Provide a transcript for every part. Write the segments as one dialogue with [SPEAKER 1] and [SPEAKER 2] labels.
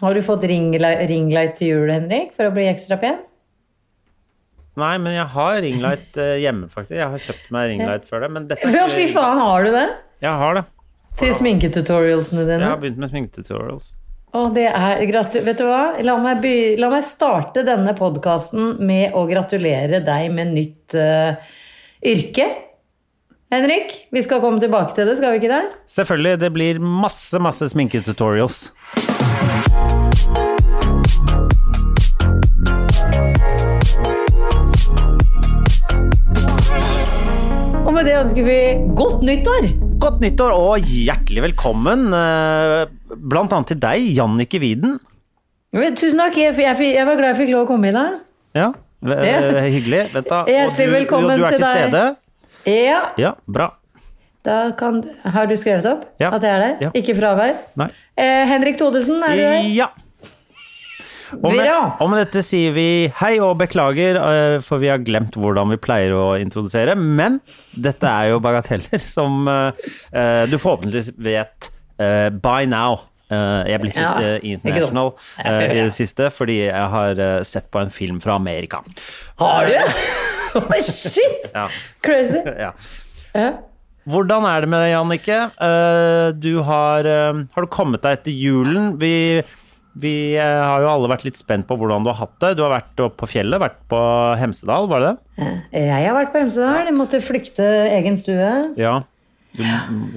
[SPEAKER 1] Har du fått ringlight, ringlight til jul, Henrik, for å bli ekstra pen?
[SPEAKER 2] Nei, men jeg har ringlight eh, hjemme, faktisk. Jeg har kjøpt meg ringlight før det. Men dette
[SPEAKER 1] Ja,
[SPEAKER 2] er
[SPEAKER 1] fy
[SPEAKER 2] ikke
[SPEAKER 1] faen, har du det?
[SPEAKER 2] Jeg har det.
[SPEAKER 1] Til sminketutorialsene
[SPEAKER 2] Jeg
[SPEAKER 1] dine?
[SPEAKER 2] har begynt med sminketutorials.
[SPEAKER 1] Å, det er gratu... Vet du hva? La meg, by... La meg starte denne podkasten med å gratulere deg med nytt eh, yrke. Henrik, vi skal komme tilbake til det, skal vi ikke det?
[SPEAKER 2] Selvfølgelig, det blir masse, masse sminketutorials.
[SPEAKER 1] Og med det ønsker vi godt nyttår!
[SPEAKER 2] Godt nyttår og hjertelig velkommen, eh, blant annet til deg, Jannicke Widen.
[SPEAKER 1] Men Tusen takk, jeg, jeg, jeg var glad jeg fikk lov å komme i dag.
[SPEAKER 2] Ja, v- eh, hyggelig. Vent da.
[SPEAKER 1] Hjertelig velkommen
[SPEAKER 2] og du er
[SPEAKER 1] til
[SPEAKER 2] til
[SPEAKER 1] deg.
[SPEAKER 2] stede.
[SPEAKER 1] Ja,
[SPEAKER 2] Ja, bra.
[SPEAKER 1] da kan... Har du skrevet opp
[SPEAKER 2] Ja.
[SPEAKER 1] at jeg er der?
[SPEAKER 2] Ja.
[SPEAKER 1] Ikke fravær?
[SPEAKER 2] Nei.
[SPEAKER 1] Eh, Henrik Thodesen, er du der?
[SPEAKER 2] Ja. Og med,
[SPEAKER 1] Bra.
[SPEAKER 2] og med dette sier vi hei og beklager, eh, for vi har glemt hvordan vi pleier å introdusere. Men dette er jo bagateller som eh, eh, du forhåpentligvis vet eh, by now. Eh, jeg er blitt
[SPEAKER 1] Ja,
[SPEAKER 2] litt eh,
[SPEAKER 1] ikke dumt.
[SPEAKER 2] international
[SPEAKER 1] Jeg føler
[SPEAKER 2] eh, i
[SPEAKER 1] det.
[SPEAKER 2] det siste fordi jeg har eh, sett på en film fra Amerika.
[SPEAKER 1] Har du? Oi, shit!
[SPEAKER 2] Ja.
[SPEAKER 1] Crazy.
[SPEAKER 2] Ja.
[SPEAKER 1] Ja.
[SPEAKER 2] Hvordan er det med deg, Jannicke? Eh, Du har, eh, har du kommet deg etter julen? Vi, vi eh, har jo alle vært litt spent på hvordan du har hatt det. Du har vært oppe på fjellet, vært på Hemsedal, var det det?
[SPEAKER 1] Jeg har vært på Hemsedal. Jeg måtte flykte egen stue.
[SPEAKER 2] Ja. Du,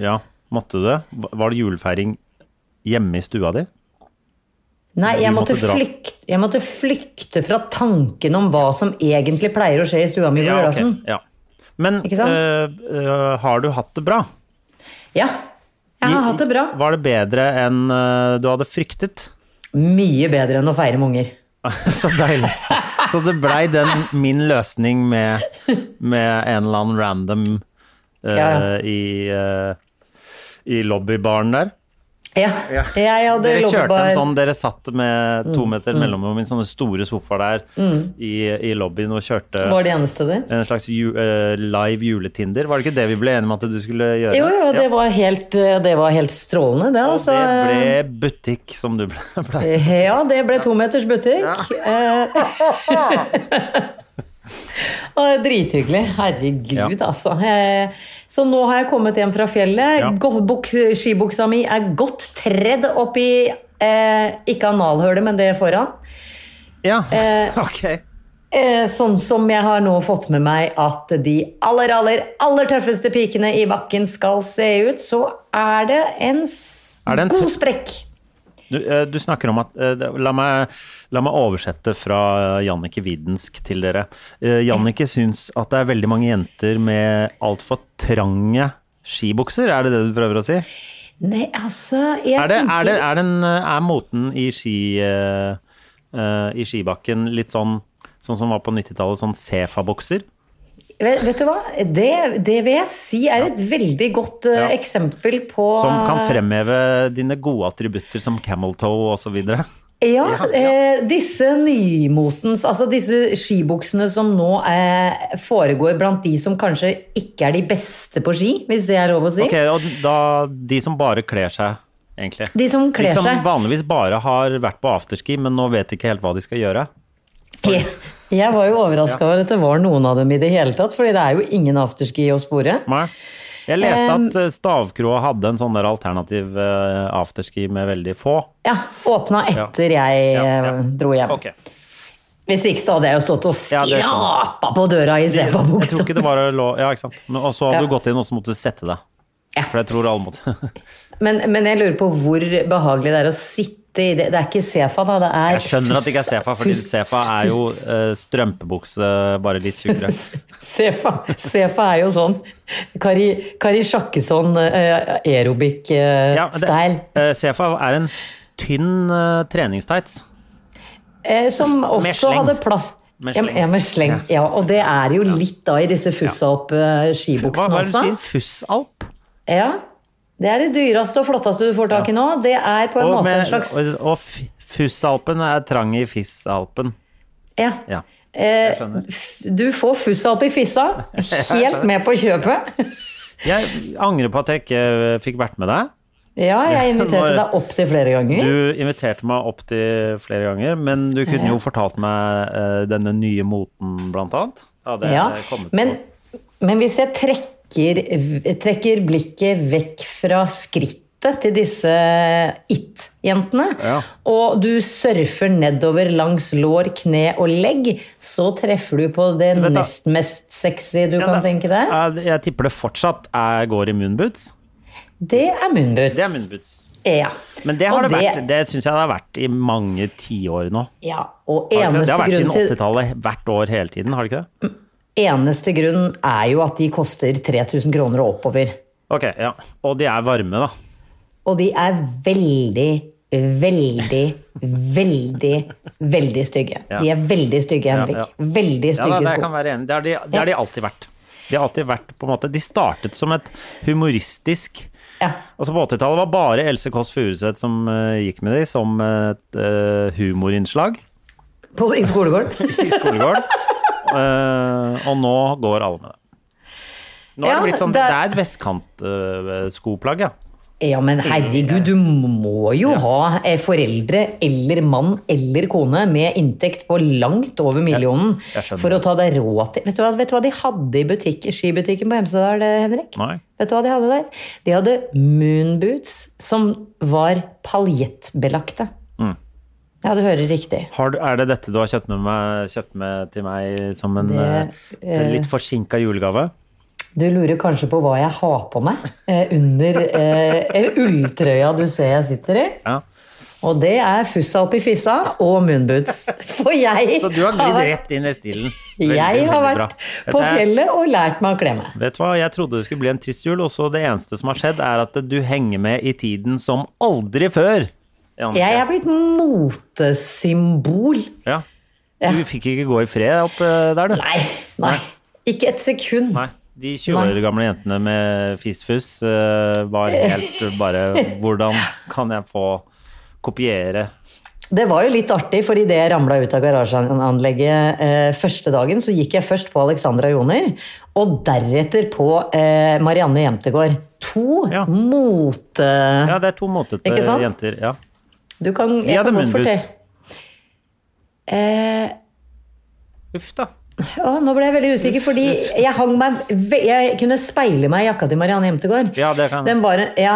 [SPEAKER 2] ja, måtte du det? Var det julefeiring hjemme i stua di?
[SPEAKER 1] Nei, jeg
[SPEAKER 2] Du
[SPEAKER 1] måtte,
[SPEAKER 2] måtte dra.
[SPEAKER 1] flykte, jeg måtte flykte fra tanken om hva som egentlig pleier å skje i stua mi på
[SPEAKER 2] Ja, ok,
[SPEAKER 1] julaften.
[SPEAKER 2] ja. Men
[SPEAKER 1] Ikke sant?
[SPEAKER 2] eh, eh, har du hatt det bra?
[SPEAKER 1] Ja. Jeg har hatt det bra.
[SPEAKER 2] Var det bedre enn eh, du hadde fryktet?
[SPEAKER 1] Mye bedre enn å feire med unger.
[SPEAKER 2] Så deilig. Så det blei den min løsning med, med en eller annen random eh,
[SPEAKER 1] Ja, ja.
[SPEAKER 2] i, eh, i lobbybaren der.
[SPEAKER 1] Ja. Mm, Jeg hadde
[SPEAKER 2] Dere kjørte
[SPEAKER 1] loppebar
[SPEAKER 2] en sånn, dere satt med to meter mellomrom i en sånne store sofaer der i, i lobbyen og kjørte
[SPEAKER 1] Mm. Var det eneste der?
[SPEAKER 2] en slags ju, eh, live juletinder. Var det ikke det vi ble enige om at du skulle gjøre?
[SPEAKER 1] Jo, jo, det
[SPEAKER 2] Ja.
[SPEAKER 1] var helt, eh, det var helt strålende, det.
[SPEAKER 2] Og
[SPEAKER 1] Altså.
[SPEAKER 2] det ble butikk, som du ble- pleier.
[SPEAKER 1] Ja, det ble to meters butikk. Eh, og Drithyggelig. Herregud, altså. Eh, Så nå har jeg kommet hjem fra fjellet.
[SPEAKER 2] Ja.
[SPEAKER 1] Gå- buk- Skibuksa mi er godt tredd opp i eh, ikke analhølet, men det foran.
[SPEAKER 2] Ja, ok.
[SPEAKER 1] Eh, sånn som jeg har nå fått med meg at de aller, aller, aller tøffeste pikene i bakken skal se ut, så er det en, s-
[SPEAKER 2] Er det en
[SPEAKER 1] god
[SPEAKER 2] tøff-
[SPEAKER 1] sprekk.
[SPEAKER 2] Du, eh, du snakker om at eh, det- La meg, la meg oversette fra eh, Jannicke Widensk til dere. Eh, Jannicke syns at det er veldig mange jenter med altfor trange skibukser, er det det du prøver å si?
[SPEAKER 1] Nei, altså jeg
[SPEAKER 2] Er, det, er, det,
[SPEAKER 1] tenker-
[SPEAKER 2] er, den, eh, er moten i, ski, eh, eh, i skibakken litt sånn Sånn som var på 90-tallet, sånn Sefa-bukser?
[SPEAKER 1] Vet, vet du hva? Det, det vil jeg si er et veldig godt eh,
[SPEAKER 2] Ja.
[SPEAKER 1] eksempel på
[SPEAKER 2] Som kan fremheve dine gode attributter som camel toe osv.
[SPEAKER 1] Ja, Eh, disse nymotens Altså disse skibuksene som nå eh, foregår blant de som kanskje ikke er de beste på ski, hvis det er lov å si.
[SPEAKER 2] Ok, og da de som bare kler seg, egentlig.
[SPEAKER 1] De som
[SPEAKER 2] De
[SPEAKER 1] kler
[SPEAKER 2] som
[SPEAKER 1] seg
[SPEAKER 2] Liksom vanligvis bare har vært på afterski, men nå vet de ikke helt hva de skal gjøre.
[SPEAKER 1] Jeg, jeg var jo overraska over at det var noen av dem i det hele tatt, fordi det er jo ingen afterski å spore.
[SPEAKER 2] Nei. Jeg leste
[SPEAKER 1] Em.
[SPEAKER 2] at eh, Stavkroa hadde en sånn der alternativ eh, afterski med veldig få.
[SPEAKER 1] Ja, åpna etter jeg
[SPEAKER 2] Ja, ja.
[SPEAKER 1] eh, dro hjem.
[SPEAKER 2] Ok.
[SPEAKER 1] Hvis ikke så hadde jeg jo stått og
[SPEAKER 2] Ja, det skjønner jeg.
[SPEAKER 1] skrapa på døra i
[SPEAKER 2] Jeg tror
[SPEAKER 1] Sefa-buksa.
[SPEAKER 2] ikke det var lov Ja, ikke sant. Men- Og så hadde
[SPEAKER 1] Ja.
[SPEAKER 2] du gått inn, og så måtte du sette deg.
[SPEAKER 1] Ja.
[SPEAKER 2] For jeg tror alle måtte
[SPEAKER 1] Men, men jeg lurer på hvor behagelig det er å sitte vanvittig idé. Det er ikke Sefa, da. Det er
[SPEAKER 2] Jeg skjønner at det ikke er Sefa, fordi
[SPEAKER 1] fus-
[SPEAKER 2] Sefa er jo eh, strømpebukse, bare litt tjukkere.
[SPEAKER 1] Sefa, Sefa er jo sånn Kari, Kari Sjakkesson eh, aerobic-style.
[SPEAKER 2] Ja, det- eh, Sefa er en tynn eh, treningstights.
[SPEAKER 1] Eh, Som også
[SPEAKER 2] sleng.
[SPEAKER 1] hadde plass
[SPEAKER 2] Med
[SPEAKER 1] Ja, men-
[SPEAKER 2] sleng.
[SPEAKER 1] Ja, med sleng.
[SPEAKER 2] Ja.
[SPEAKER 1] Ja. og det er jo litt da i disse
[SPEAKER 2] Hva,
[SPEAKER 1] Fussalp-skibuksene
[SPEAKER 2] hva er det du
[SPEAKER 1] også.
[SPEAKER 2] sier? Fussalp?
[SPEAKER 1] Ja. Det er det dyreste og flotteste du får tak i nå. Det er på en
[SPEAKER 2] Og,
[SPEAKER 1] måte
[SPEAKER 2] med,
[SPEAKER 1] en slags
[SPEAKER 2] og, og f- Fussalpen er trang i Fissalpen.
[SPEAKER 1] Ja.
[SPEAKER 2] Ja.
[SPEAKER 1] Eh,
[SPEAKER 2] skjønner.
[SPEAKER 1] f- du får Fussalp i fissa, helt med på kjøpet.
[SPEAKER 2] Jeg angrer på at jeg ikke eh, fikk vært med deg.
[SPEAKER 1] Ja, jeg inviterte
[SPEAKER 2] Nå-
[SPEAKER 1] deg opp til flere ganger.
[SPEAKER 2] Du inviterte meg opp til flere ganger, men du kunne jo fortalt meg eh, denne nye moten, blant annet. Ja, det
[SPEAKER 1] Ja.
[SPEAKER 2] er kommet
[SPEAKER 1] Men,
[SPEAKER 2] på.
[SPEAKER 1] men hvis jeg trekker, v- trekker blikket vekk fra skrittet til disse it-jentene,
[SPEAKER 2] Ja.
[SPEAKER 1] og du surfer nedover langs lår, kne og legg, så treffer du på det
[SPEAKER 2] Vent da.
[SPEAKER 1] nest mest sexy du kan
[SPEAKER 2] det-
[SPEAKER 1] tenke deg.
[SPEAKER 2] Jeg, Eh, jeg tipper det fortsatt er, går i moonboots.
[SPEAKER 1] Det er
[SPEAKER 2] Det er
[SPEAKER 1] munnboots.
[SPEAKER 2] moonboots.
[SPEAKER 1] Ja.
[SPEAKER 2] Men det har
[SPEAKER 1] Og
[SPEAKER 2] det vært. Det syns jeg det har vært i mange tiår nå.
[SPEAKER 1] Ja, og
[SPEAKER 2] Har det ikke det? det
[SPEAKER 1] eneste
[SPEAKER 2] har vært
[SPEAKER 1] grunn,
[SPEAKER 2] siden
[SPEAKER 1] til,
[SPEAKER 2] 80-tallet, hvert år hele tiden, har det ikke det?
[SPEAKER 1] eneste grunn er jo at de koster 3000 kroner og oppover.
[SPEAKER 2] Ok, ja. Og de er varme, da.
[SPEAKER 1] Og de er veldig, veldig, veldig, veldig stygge.
[SPEAKER 2] Ja.
[SPEAKER 1] De er veldig stygge, Henrik.
[SPEAKER 2] ja.
[SPEAKER 1] Veldig
[SPEAKER 2] Ja, da,
[SPEAKER 1] stygge
[SPEAKER 2] det kan
[SPEAKER 1] sko.
[SPEAKER 2] være enig. Det har de, det har de alltid vært. De har alltid vært på en måte De startet som et humoristisk
[SPEAKER 1] Ja.
[SPEAKER 2] Altså På 80-tallet var bare Else Kåss Furuseth som eh, gikk med de som et eh, humorinnslag
[SPEAKER 1] På, I skolegården.
[SPEAKER 2] i skolegården. Eh, og nå går alle med det. Nå er
[SPEAKER 1] Ja,
[SPEAKER 2] det blitt sånn Det
[SPEAKER 1] det er-
[SPEAKER 2] er et vestkantskoplagg, ja.
[SPEAKER 1] Ja, men herregud, du må jo ha eh, foreldre eller mann eller kone med inntekt på langt over millionen
[SPEAKER 2] jeg skjønner.
[SPEAKER 1] for å ta deg råd til Vet du hva, vet du hva de hadde i butikk, skibutikken på Hemsedal, eh, Henrik?
[SPEAKER 2] Nei.
[SPEAKER 1] Vet du hva de hadde der? De hadde moonboots som var paljettbelagte.
[SPEAKER 2] Mm.
[SPEAKER 1] Ja, du hører riktig.
[SPEAKER 2] Har du, er det dette du har kjøpt med, meg, kjøpt med til meg som en
[SPEAKER 1] Det,
[SPEAKER 2] eh, litt forsinka julegave?
[SPEAKER 1] Du lurer kanskje på hva jeg har på meg eh, under eh, ulltrøya du ser jeg sitter i.
[SPEAKER 2] Ja.
[SPEAKER 1] Og det er fussa oppi fissa og moonboots. For jeg
[SPEAKER 2] Så du har glidd
[SPEAKER 1] vært-
[SPEAKER 2] rett inn i stilen.
[SPEAKER 1] Jeg
[SPEAKER 2] Veldig,
[SPEAKER 1] har
[SPEAKER 2] veldig bra.
[SPEAKER 1] vært på
[SPEAKER 2] Dette er-
[SPEAKER 1] fjellet og lært meg å kle meg.
[SPEAKER 2] Vet du hva, jeg trodde det skulle bli en trist jul, og så det eneste som har skjedd, er at du henger med i tiden som aldri før. Jannicke.
[SPEAKER 1] Jeg er blitt motesymbol.
[SPEAKER 2] Ja. Du fikk ikke gå i fred opp eh, der, du.
[SPEAKER 1] Nei, nei. Ikke et sekund.
[SPEAKER 2] Nei. De 20 år
[SPEAKER 1] Nei.
[SPEAKER 2] gamle jentene med fisfus eh, var helt bare Hvordan kan jeg få kopiere
[SPEAKER 1] Det var jo litt artig, for idet jeg ramla ut av garasjeanlegget eh, første dagen, så gikk jeg først på Alexandra Joner, og deretter på eh, Marianne Jentegård. To
[SPEAKER 2] Ja.
[SPEAKER 1] mote...
[SPEAKER 2] Ja, det er to motete
[SPEAKER 1] Ikke sant?
[SPEAKER 2] jenter. Ja.
[SPEAKER 1] Du kan,
[SPEAKER 2] De
[SPEAKER 1] jeg
[SPEAKER 2] hadde
[SPEAKER 1] kan godt
[SPEAKER 2] munnboots.
[SPEAKER 1] fortelle. Eh,
[SPEAKER 2] Uff da.
[SPEAKER 1] å, nå ble jeg veldig usikker, fordi jeg, hang meg, ve- jeg kunne speile meg i jakka til Marianne Jentegård.
[SPEAKER 2] Ja, det kan
[SPEAKER 1] Den var, en- ja,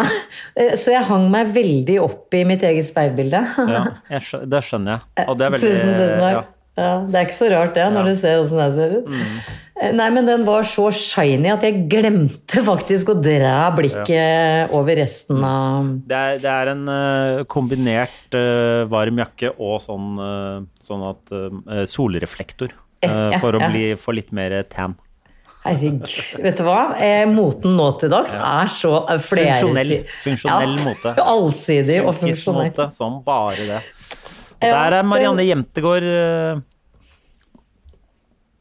[SPEAKER 1] eh, så jeg hang meg veldig opp i mitt eget speilbilde.
[SPEAKER 2] ja, jeg skjø- Det skjønner jeg. Og det er veldig
[SPEAKER 1] Tusen, tusen takk.
[SPEAKER 2] ja.
[SPEAKER 1] Ja. det er ikke så rart det, når
[SPEAKER 2] Ja. Mm.
[SPEAKER 1] du ser åssen jeg ser ut. Eh, Nei, men den var så shiny at jeg glemte faktisk å dra blikket over resten av
[SPEAKER 2] Det er, det er en eh, kombinert eh, varm jakke og sånn, eh, sånn at eh, solreflektor. eh,
[SPEAKER 1] Eh, ja,
[SPEAKER 2] for å
[SPEAKER 1] ja.
[SPEAKER 2] bli, få litt mer tan.
[SPEAKER 1] Herregud, vet du hva? Eh, moten nå til dags er så eh, flere
[SPEAKER 2] Funksjonell- funksjonell mote.
[SPEAKER 1] Allsidig og funksjonell.
[SPEAKER 2] Funkismåte, som sånn, bare det. Og
[SPEAKER 1] Ja,
[SPEAKER 2] der er Marianne
[SPEAKER 1] det-
[SPEAKER 2] Jemtegård eh,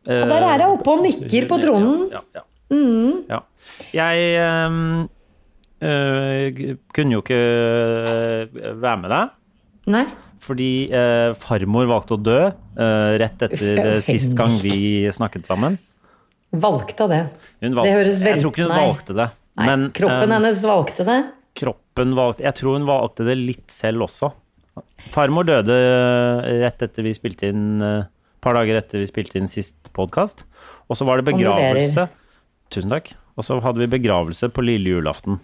[SPEAKER 2] eh,
[SPEAKER 1] Der er jeg oppe og nikker på tronen. Mm.
[SPEAKER 2] Ja, ja, ja. ja. Jeg eh, eh, g- kunne jo ikke eh, være med deg.
[SPEAKER 1] Nei.
[SPEAKER 2] Fordi eh, farmor valgte å dø eh, rett etter eh, sist gang vi snakket sammen.
[SPEAKER 1] Valgte av det.
[SPEAKER 2] Hun valgte,
[SPEAKER 1] Det høres
[SPEAKER 2] jeg
[SPEAKER 1] veld-
[SPEAKER 2] tror ikke hun
[SPEAKER 1] nei.
[SPEAKER 2] valgte det.
[SPEAKER 1] Nei,
[SPEAKER 2] men
[SPEAKER 1] kroppen
[SPEAKER 2] eh,
[SPEAKER 1] hennes valgte det.
[SPEAKER 2] kroppen valgte Jeg tror hun valgte det litt selv også. Farmor døde eh, rett etter vi spilte inn eh, par dager etter vi spilte inn sist podkast. Og så var det begravelse.
[SPEAKER 1] Kondolerer.
[SPEAKER 2] Tusen takk. Og så hadde vi begravelse på lille julaften.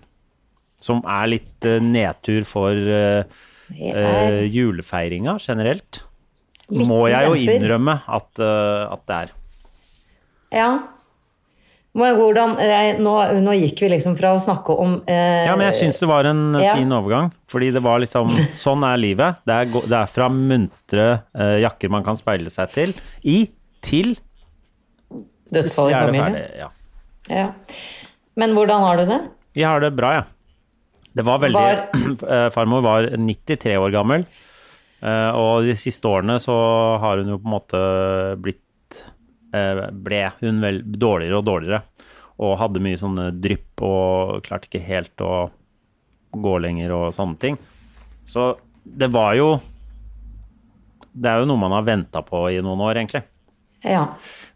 [SPEAKER 2] Som er litt eh, nedtur for eh,
[SPEAKER 1] Det er
[SPEAKER 2] eh, julefeiringa generelt. Må jeg jo
[SPEAKER 1] ulemper.
[SPEAKER 2] innrømme at, eh, at det er.
[SPEAKER 1] Ja. Men hvordan, jeg, nå, nå gikk vi liksom fra å snakke om eh,
[SPEAKER 2] Ja, men jeg syns det var en eh,
[SPEAKER 1] Ja.
[SPEAKER 2] fin overgang. Fordi det var liksom Sånn er livet. Det er, gå- det er fra muntre eh, jakker man kan speile seg til, i til
[SPEAKER 1] dødsfall i
[SPEAKER 2] jeg er det
[SPEAKER 1] familien.
[SPEAKER 2] ferdig. Ja.
[SPEAKER 1] Ja. Men hvordan har du det?
[SPEAKER 2] Jeg har det bra, jeg. Det var veldig Eh, Farmor var 93 år gammel. eh, Og de siste årene så har hun jo på en måte blitt eh, Ble hun vel dårligere og dårligere. Og hadde mye sånne drypp og klarte ikke helt å gå lenger og sånne ting. Så det var jo Det er jo noe man har venta på i noen år, egentlig.
[SPEAKER 1] Ja.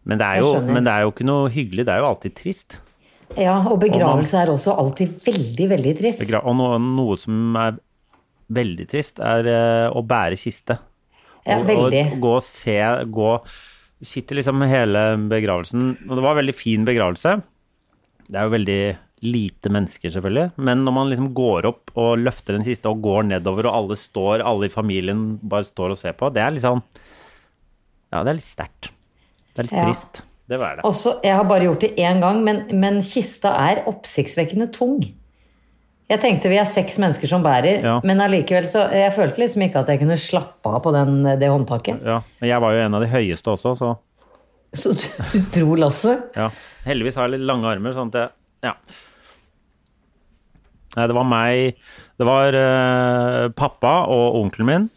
[SPEAKER 2] Men det, er
[SPEAKER 1] Jeg
[SPEAKER 2] jo,
[SPEAKER 1] skjønner.
[SPEAKER 2] men det er jo ikke noe hyggelig. Det er jo alltid trist.
[SPEAKER 1] ja og begravelse er også alltid veldig, veldig trist.
[SPEAKER 2] Begra- Og noe, noe som er veldig trist, er eh, å bære kiste.
[SPEAKER 1] Ja,
[SPEAKER 2] Og-
[SPEAKER 1] veldig.
[SPEAKER 2] Og, gå og se gå, Sitter liksom hele begravelsen Og det var en veldig fin begravelse. Det er jo veldig lite mennesker, selvfølgelig. Men når man liksom går opp og løfter den siste og går nedover, og alle står, alle i familien bare står og ser på, det er litt sånn Ja, det er litt sterkt. Det er litt
[SPEAKER 1] Ja.
[SPEAKER 2] trist. Det var det.
[SPEAKER 1] Også, jeg har bare gjort det én gang, men, men kista er oppsiktsvekkende tung. Jeg tenkte vi er seks mennesker som bærer,
[SPEAKER 2] Ja.
[SPEAKER 1] men allikevel så Jeg følte liksom ikke at jeg kunne slappe av på den, det håndtaket.
[SPEAKER 2] Ja, men jeg var jo en av de høyeste også, så
[SPEAKER 1] Så du, du dro lasset.
[SPEAKER 2] Ja. Heldigvis har jeg litt lange armer, sånn at jeg Ja. Nei, det var meg Det var eh, pappa og onkelen min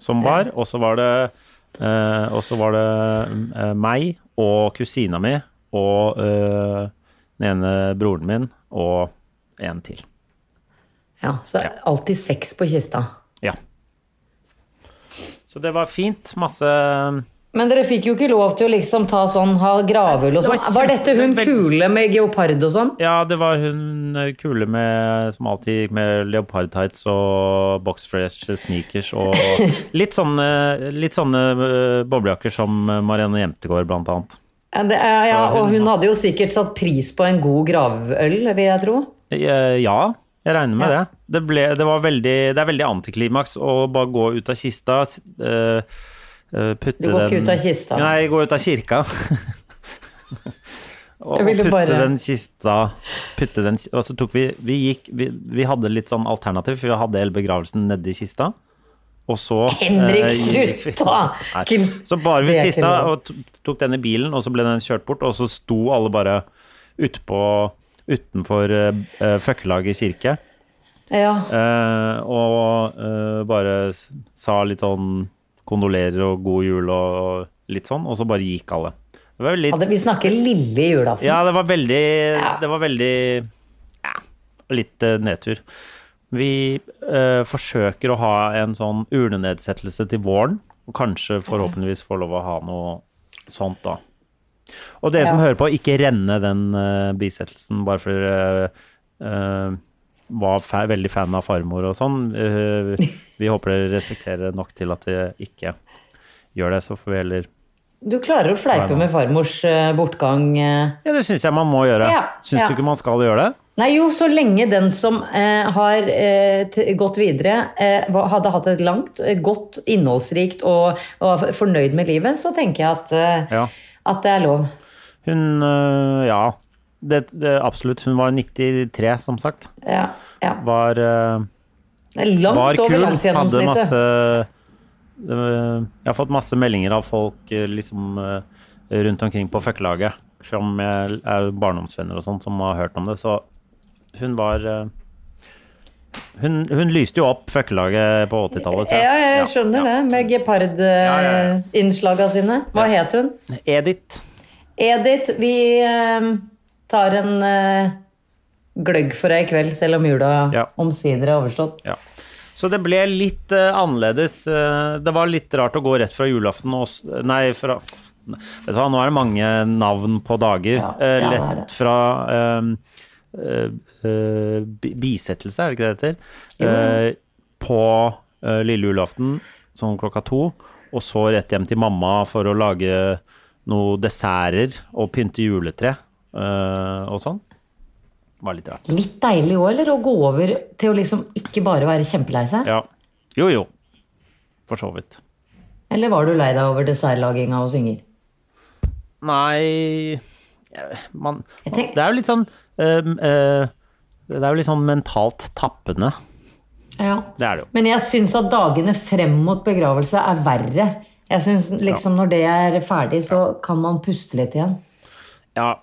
[SPEAKER 2] som bar, og så var det eh, Og så var det eh, meg og kusina mi og eh, den ene broren min og en til.
[SPEAKER 1] Ja, så det er alltid seks på kista.
[SPEAKER 2] Ja. Så det var fint. Masse
[SPEAKER 1] Men dere fikk jo ikke lov til å liksom ta sånn, ha gravøl og
[SPEAKER 2] Det var
[SPEAKER 1] sånn. Var dette hun
[SPEAKER 2] kjempe-
[SPEAKER 1] kule med geopard og sånn?
[SPEAKER 2] Ja, det var hun eh, kule med, som alltid gikk med leopardtights og boxfresh sneakers og litt sånne, litt sånne eh, boblejakker som Marianne Jemtegård, blant annet.
[SPEAKER 1] Ja, det er, ja,
[SPEAKER 2] Så hun-
[SPEAKER 1] og hun hadde jo sikkert satt pris på en god gravøl, vil jeg tro.
[SPEAKER 2] Eh, Ja, jeg regner med
[SPEAKER 1] Ja.
[SPEAKER 2] det. Det, ble, det, var veldig, det er veldig antiklimaks å bare gå ut av kista, s- eh, eh, putte
[SPEAKER 1] Du
[SPEAKER 2] den
[SPEAKER 1] går ikke ut av kista.
[SPEAKER 2] Nei, gå ut av kirka. og
[SPEAKER 1] Jeg
[SPEAKER 2] og
[SPEAKER 1] ville
[SPEAKER 2] putte
[SPEAKER 1] bare-
[SPEAKER 2] den kista putte den, Og så tok vi Vi gikk Vi, vi hadde litt sånn alternativ, for vi hadde hele begravelsen nedi kista. Og så
[SPEAKER 1] Henrik,
[SPEAKER 2] eh, gikk vi-
[SPEAKER 1] slutt da!
[SPEAKER 2] Nei.
[SPEAKER 1] Ikke-
[SPEAKER 2] Så bar vi
[SPEAKER 1] Det er
[SPEAKER 2] ut
[SPEAKER 1] ikke
[SPEAKER 2] kista
[SPEAKER 1] lov.
[SPEAKER 2] og to- tok den i bilen, og så ble den kjørt bort, og så sto alle bare utpå Utenfor eh, eh, Føkkelaget kirke.
[SPEAKER 1] Ja.
[SPEAKER 2] Eh, og eh, bare s- sa litt sånn kondolerer og god jul og, og litt sånn, og så bare gikk alle. Det var veldig,
[SPEAKER 1] Hadde, vi snakker lille julaften.
[SPEAKER 2] ja, det var veldig,
[SPEAKER 1] Ja.
[SPEAKER 2] det var veldig ja, litt eh, nedtur. Vi eh, forsøker å ha en sånn urnenedsettelse til våren, og kanskje forhåpentligvis får lov å ha noe sånt da. Og dere
[SPEAKER 1] Ja.
[SPEAKER 2] som hører på, ikke renne den eh, bisettelsen bare for dere eh, var fa veldig fan av farmor og sånn. Eh, vi håper dere respekterer det nok til at dere ikke gjør det, så får vi heller
[SPEAKER 1] Du klarer å fleipe med farmors eh, bortgang. eh.
[SPEAKER 2] Ja, det syns jeg man må gjøre.
[SPEAKER 1] Ja,
[SPEAKER 2] Syns
[SPEAKER 1] ja.
[SPEAKER 2] du ikke man skal gjøre det?
[SPEAKER 1] Nei, jo, så lenge den som eh, har eh, t gått videre, eh, hva- hadde hatt et langt, eh, godt, innholdsrikt og, og var fornøyd med livet, så tenker jeg at, eh,
[SPEAKER 2] Ja.
[SPEAKER 1] at det er lov.
[SPEAKER 2] Hun øh, Ja. Det, det, absolutt. Hun var 93, som sagt.
[SPEAKER 1] Ja, ja.
[SPEAKER 2] Var, øh,
[SPEAKER 1] Det er Langt
[SPEAKER 2] var
[SPEAKER 1] over
[SPEAKER 2] kul. Hadde
[SPEAKER 1] landsgjennomsnittet.
[SPEAKER 2] masse det var- Jeg har fått masse meldinger av folk øh, liksom øh, rundt omkring på føkkelaget, som jeg er barndomsvenner og sånn, som har hørt om det. Så hun var øh, hun, hun lyste jo opp føkkelaget på 80-tallet. tror jeg.
[SPEAKER 1] Ja, jeg skjønner
[SPEAKER 2] ja.
[SPEAKER 1] det, med
[SPEAKER 2] ja, ja.
[SPEAKER 1] gepardinnslaga sine. Hva het hun?
[SPEAKER 2] Edith.
[SPEAKER 1] Edith, vi eh, tar en eh, gløgg for deg i kveld, selv om jula
[SPEAKER 2] Ja.
[SPEAKER 1] omsider er overstått.
[SPEAKER 2] Ja. Så det ble litt eh, annerledes. eh, det var litt rart å gå rett fra julaften og s- Nei, fra Vet du hva, nå er det mange navn på dager.
[SPEAKER 1] Ja,
[SPEAKER 2] Eh,
[SPEAKER 1] ja, det er det.
[SPEAKER 2] lett fra eh, eh, eh, bi- bisettelse, er det ikke det det heter? Eh, på eh, lille julaften, sånn klokka to, og så rett hjem til mamma for å lage noen desserter og pynte juletre eh, og sånn. Det var litt rart.
[SPEAKER 1] Litt deilig òg, eller? Å gå over til å liksom ikke bare være kjempelei seg?
[SPEAKER 2] Ja. Jo, jo. For så vidt.
[SPEAKER 1] Eller var du lei deg over dessertlaginga hos Inger?
[SPEAKER 2] Nei man,
[SPEAKER 1] Jeg
[SPEAKER 2] man,
[SPEAKER 1] tenk-
[SPEAKER 2] Det er jo litt sånn eh, eh, Det er jo litt sånn mentalt tappende.
[SPEAKER 1] Ja.
[SPEAKER 2] Det er det jo.
[SPEAKER 1] Men jeg syns at dagene frem mot begravelse er verre. Jeg synes liksom Når det er ferdig, så kan man puste litt igjen.
[SPEAKER 2] Ja,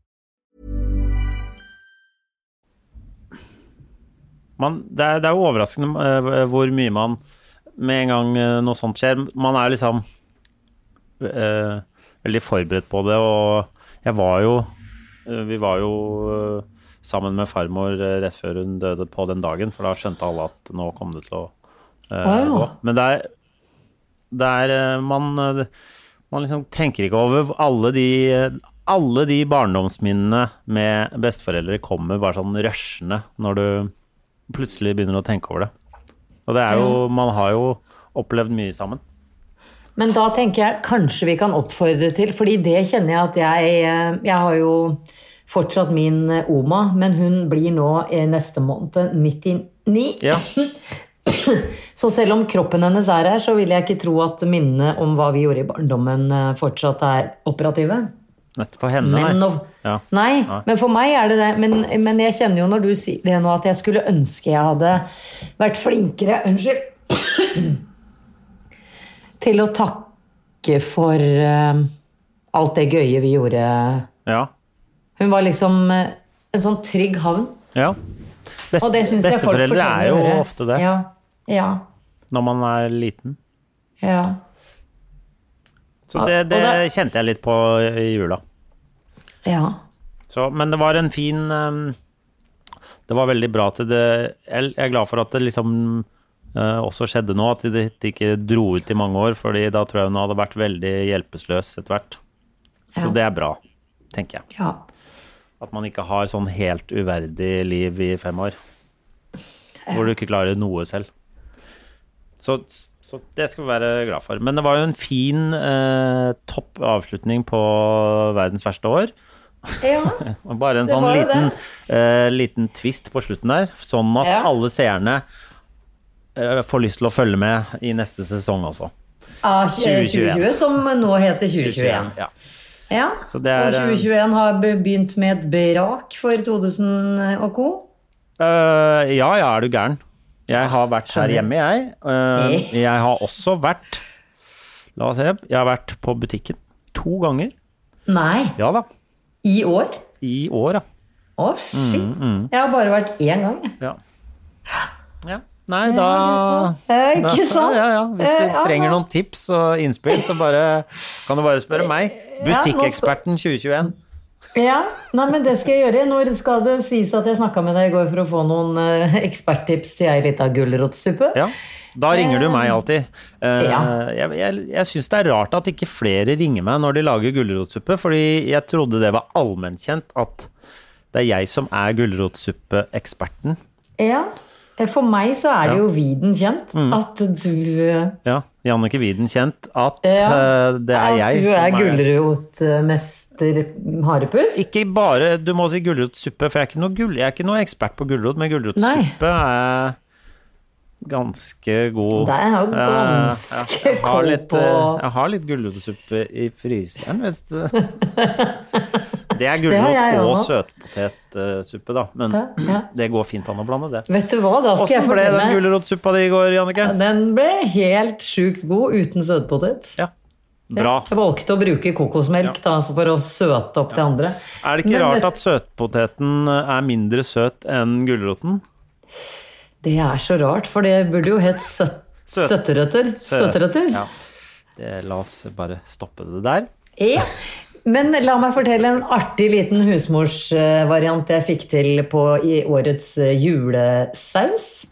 [SPEAKER 2] man, det, er, det er jo overraskende eh, hvor mye man Med en gang eh, noe sånt skjer Man er liksom eh, veldig forberedt på det, og jeg var jo eh, Vi var jo eh, sammen med farmor eh, rett før hun døde på den dagen, for da skjønte alle at nå kom det til å
[SPEAKER 1] Å,
[SPEAKER 2] eh,
[SPEAKER 1] ja.
[SPEAKER 2] gå. Men det er, det er eh, man, eh, man liksom tenker ikke over alle de alle de barndomsminnene med besteforeldre kommer bare sånn rushende når du plutselig begynner å tenke over det. Og det er jo Man har jo opplevd mye sammen.
[SPEAKER 1] Men da tenker jeg kanskje vi kan oppfordre til, fordi det kjenner jeg at jeg eh, Jeg har jo fortsatt min eh, Oma, men hun blir nå i neste måned 99.
[SPEAKER 2] Ja.
[SPEAKER 1] Så selv om kroppen hennes er her, så vil jeg ikke tro at minnene om hva vi gjorde i barndommen eh, fortsatt er operative.
[SPEAKER 2] Nett for henne,
[SPEAKER 1] Men
[SPEAKER 2] nei.
[SPEAKER 1] nå-
[SPEAKER 2] Ja.
[SPEAKER 1] Nei, men for meg er det det. Men, men jeg kjenner jo når du sier det nå, at jeg skulle ønske jeg hadde vært flinkere Unnskyld. til å takke for eh, alt det gøye vi gjorde.
[SPEAKER 2] Ja.
[SPEAKER 1] Hun var liksom eh, en sånn trygg havn.
[SPEAKER 2] ja. Best,
[SPEAKER 1] Og det syns jeg folk
[SPEAKER 2] besteforeldre
[SPEAKER 1] fortjener
[SPEAKER 2] er
[SPEAKER 1] å
[SPEAKER 2] jo
[SPEAKER 1] høre.
[SPEAKER 2] ofte det
[SPEAKER 1] Ja, ja,
[SPEAKER 2] når man er liten.
[SPEAKER 1] ja.
[SPEAKER 2] Så det,
[SPEAKER 1] Og
[SPEAKER 2] det
[SPEAKER 1] det-
[SPEAKER 2] kjente jeg litt på i jula.
[SPEAKER 1] ja.
[SPEAKER 2] Så, men det var en fin ehm, Det var veldig bra at det Jeg jeg er glad for at det liksom eh, også skjedde nå, at det det ikke dro ut i mange år, fordi da tror jeg hun hadde vært veldig hjelpeløs etter hvert. Så
[SPEAKER 1] Ja.
[SPEAKER 2] det er bra, tenker jeg.
[SPEAKER 1] ja.
[SPEAKER 2] At man ikke har sånn helt uverdig liv i fem år. Hvor du ikke klarer noe selv. Så, så det skal vi være glad for. Men det var jo en fin, eh, topp avslutning på verdens verste år.
[SPEAKER 1] ja.
[SPEAKER 2] Og Bare en
[SPEAKER 1] Det
[SPEAKER 2] sånn
[SPEAKER 1] var jo
[SPEAKER 2] liten, eh, liten twist på slutten der, sånn at
[SPEAKER 1] Ja.
[SPEAKER 2] alle seerne eh, får lyst til å følge med i neste sesong også.
[SPEAKER 1] Av 2020,
[SPEAKER 2] 2021.
[SPEAKER 1] som nå heter 2021.
[SPEAKER 2] Ja.
[SPEAKER 1] Ja.
[SPEAKER 2] Så det er, eh,
[SPEAKER 1] og 2021 har be- begynt med et brak for 2000 og co.
[SPEAKER 2] Eh, ja, ja, er du gæren. Jeg har vært her
[SPEAKER 1] Skjønner.
[SPEAKER 2] hjemme, jeg. Eh, jeg har også vært La oss se. Jeg har vært på butikken to ganger.
[SPEAKER 1] Nei,
[SPEAKER 2] Ja da.
[SPEAKER 1] i år?
[SPEAKER 2] I år, ja.
[SPEAKER 1] Å, shit.
[SPEAKER 2] Mm,
[SPEAKER 1] Jeg har bare vært én gang, jeg.
[SPEAKER 2] Ja. ja. Nei, da
[SPEAKER 1] Eh,
[SPEAKER 2] Da-
[SPEAKER 1] Ikke sant?
[SPEAKER 2] Ja, ja, ja. Hvis du
[SPEAKER 1] Eh, ja,
[SPEAKER 2] trenger
[SPEAKER 1] da-
[SPEAKER 2] noen tips og innspill, så bare, kan du bare spørre meg.
[SPEAKER 1] Ja, altså- nå sp-
[SPEAKER 2] Butikkeksperten 2021.
[SPEAKER 1] Ja, Nei, men det skal jeg gjøre. Når skal det sies at jeg snakka med deg i går for å få noen eh, eksperttips til ei lita gulrotsuppe?
[SPEAKER 2] Ja, da ringer du meg alltid. Eh,
[SPEAKER 1] Ja.
[SPEAKER 2] Jeg, jeg, jeg syns det er rart at ikke flere ringer meg når de lager gulrotsuppe, fordi jeg trodde det var allmennkjent at det er jeg som er gulrotsuppeeksperten.
[SPEAKER 1] Ja. Eh, For meg så er det jo viden kjent
[SPEAKER 2] Mm.
[SPEAKER 1] at du eh,
[SPEAKER 2] Ja, Jannicke Wieden kjent at
[SPEAKER 1] Ja,
[SPEAKER 2] eh, det er
[SPEAKER 1] At
[SPEAKER 2] jeg
[SPEAKER 1] du er
[SPEAKER 2] som er
[SPEAKER 1] gulrotmester Harepust.
[SPEAKER 2] ikke bare, Du må si gulrotsuppe, for jeg er ikke noe, gull, jeg er ikke noe ekspert på gulrot, men gulrotsuppe er ganske god.
[SPEAKER 1] Det er jo
[SPEAKER 2] Eh,
[SPEAKER 1] ganske
[SPEAKER 2] jeg har
[SPEAKER 1] kold
[SPEAKER 2] litt,
[SPEAKER 1] på-
[SPEAKER 2] eh, Jeg har litt gulrotsuppe i fryseren, hvis det Det
[SPEAKER 1] har
[SPEAKER 2] er gulrot
[SPEAKER 1] jeg
[SPEAKER 2] og
[SPEAKER 1] også.
[SPEAKER 2] søtpotetsuppe, da, men
[SPEAKER 1] Ja, ja.
[SPEAKER 2] det går fint an å blande det.
[SPEAKER 1] Vet du hva, da skal jeg
[SPEAKER 2] Åssen ble
[SPEAKER 1] fortelle
[SPEAKER 2] den gulrotsuppa di i går, Jannicke?
[SPEAKER 1] Den ble helt sjukt god uten søtpotet.
[SPEAKER 2] Ja, Bra.
[SPEAKER 1] Jeg valgte å bruke kokosmelk da, altså for å søte opp det andre.
[SPEAKER 2] Er det
[SPEAKER 1] Men-
[SPEAKER 2] ikke rart at søtpoteten eh, er mindre søt enn gulroten?
[SPEAKER 1] Det er så rart, for det burde jo hett søt,
[SPEAKER 2] Søt.
[SPEAKER 1] søtterøtter.
[SPEAKER 2] Søt.
[SPEAKER 1] Søtterøtter.
[SPEAKER 2] Ja. Det, la oss bare stoppe det der.
[SPEAKER 1] Ja. E. Men la meg fortelle en artig liten husmorsvariant jeg fikk til på i årets eh, julesaus.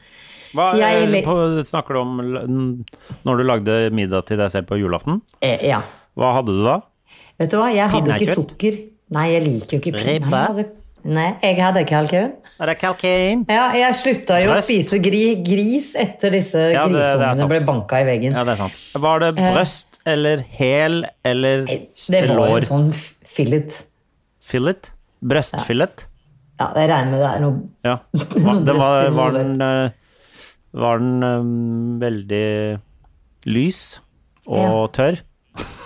[SPEAKER 2] Hva,
[SPEAKER 1] Jeg
[SPEAKER 2] eh,
[SPEAKER 1] le-
[SPEAKER 2] på, snakker du om l- n- når du lagde middag til deg selv på julaften?
[SPEAKER 1] Eh, ja.
[SPEAKER 2] Hva hadde du da?
[SPEAKER 1] Vet du hva, jeg hadde ikke
[SPEAKER 2] Pinnekjøtt?
[SPEAKER 1] sukker. Nei, jeg liker jo ikke pin-
[SPEAKER 2] Ribbe?
[SPEAKER 1] Nei, jeg hadde- Nei, jeg hadde kalkun.
[SPEAKER 2] Er det kalkin?
[SPEAKER 1] Ja, jeg slutta jo å
[SPEAKER 2] Brøst.
[SPEAKER 1] spise gri, gris etter disse
[SPEAKER 2] Ja, det- det er
[SPEAKER 1] grisungene
[SPEAKER 2] sant.
[SPEAKER 1] ble banka i veggen.
[SPEAKER 2] Ja, det er sant. Eh. Var det brøst eller hæl eller
[SPEAKER 1] det var
[SPEAKER 2] lår?
[SPEAKER 1] en sånn f- fillet.
[SPEAKER 2] Fillet? Brøstfillet?
[SPEAKER 1] Ja, jeg regner med det er noe
[SPEAKER 2] Ja. Hva,
[SPEAKER 1] Noe
[SPEAKER 2] det var,
[SPEAKER 1] brøst
[SPEAKER 2] var
[SPEAKER 1] involvert.
[SPEAKER 2] den, eh, var den eh, veldig lys og
[SPEAKER 1] Ja.
[SPEAKER 2] tørr?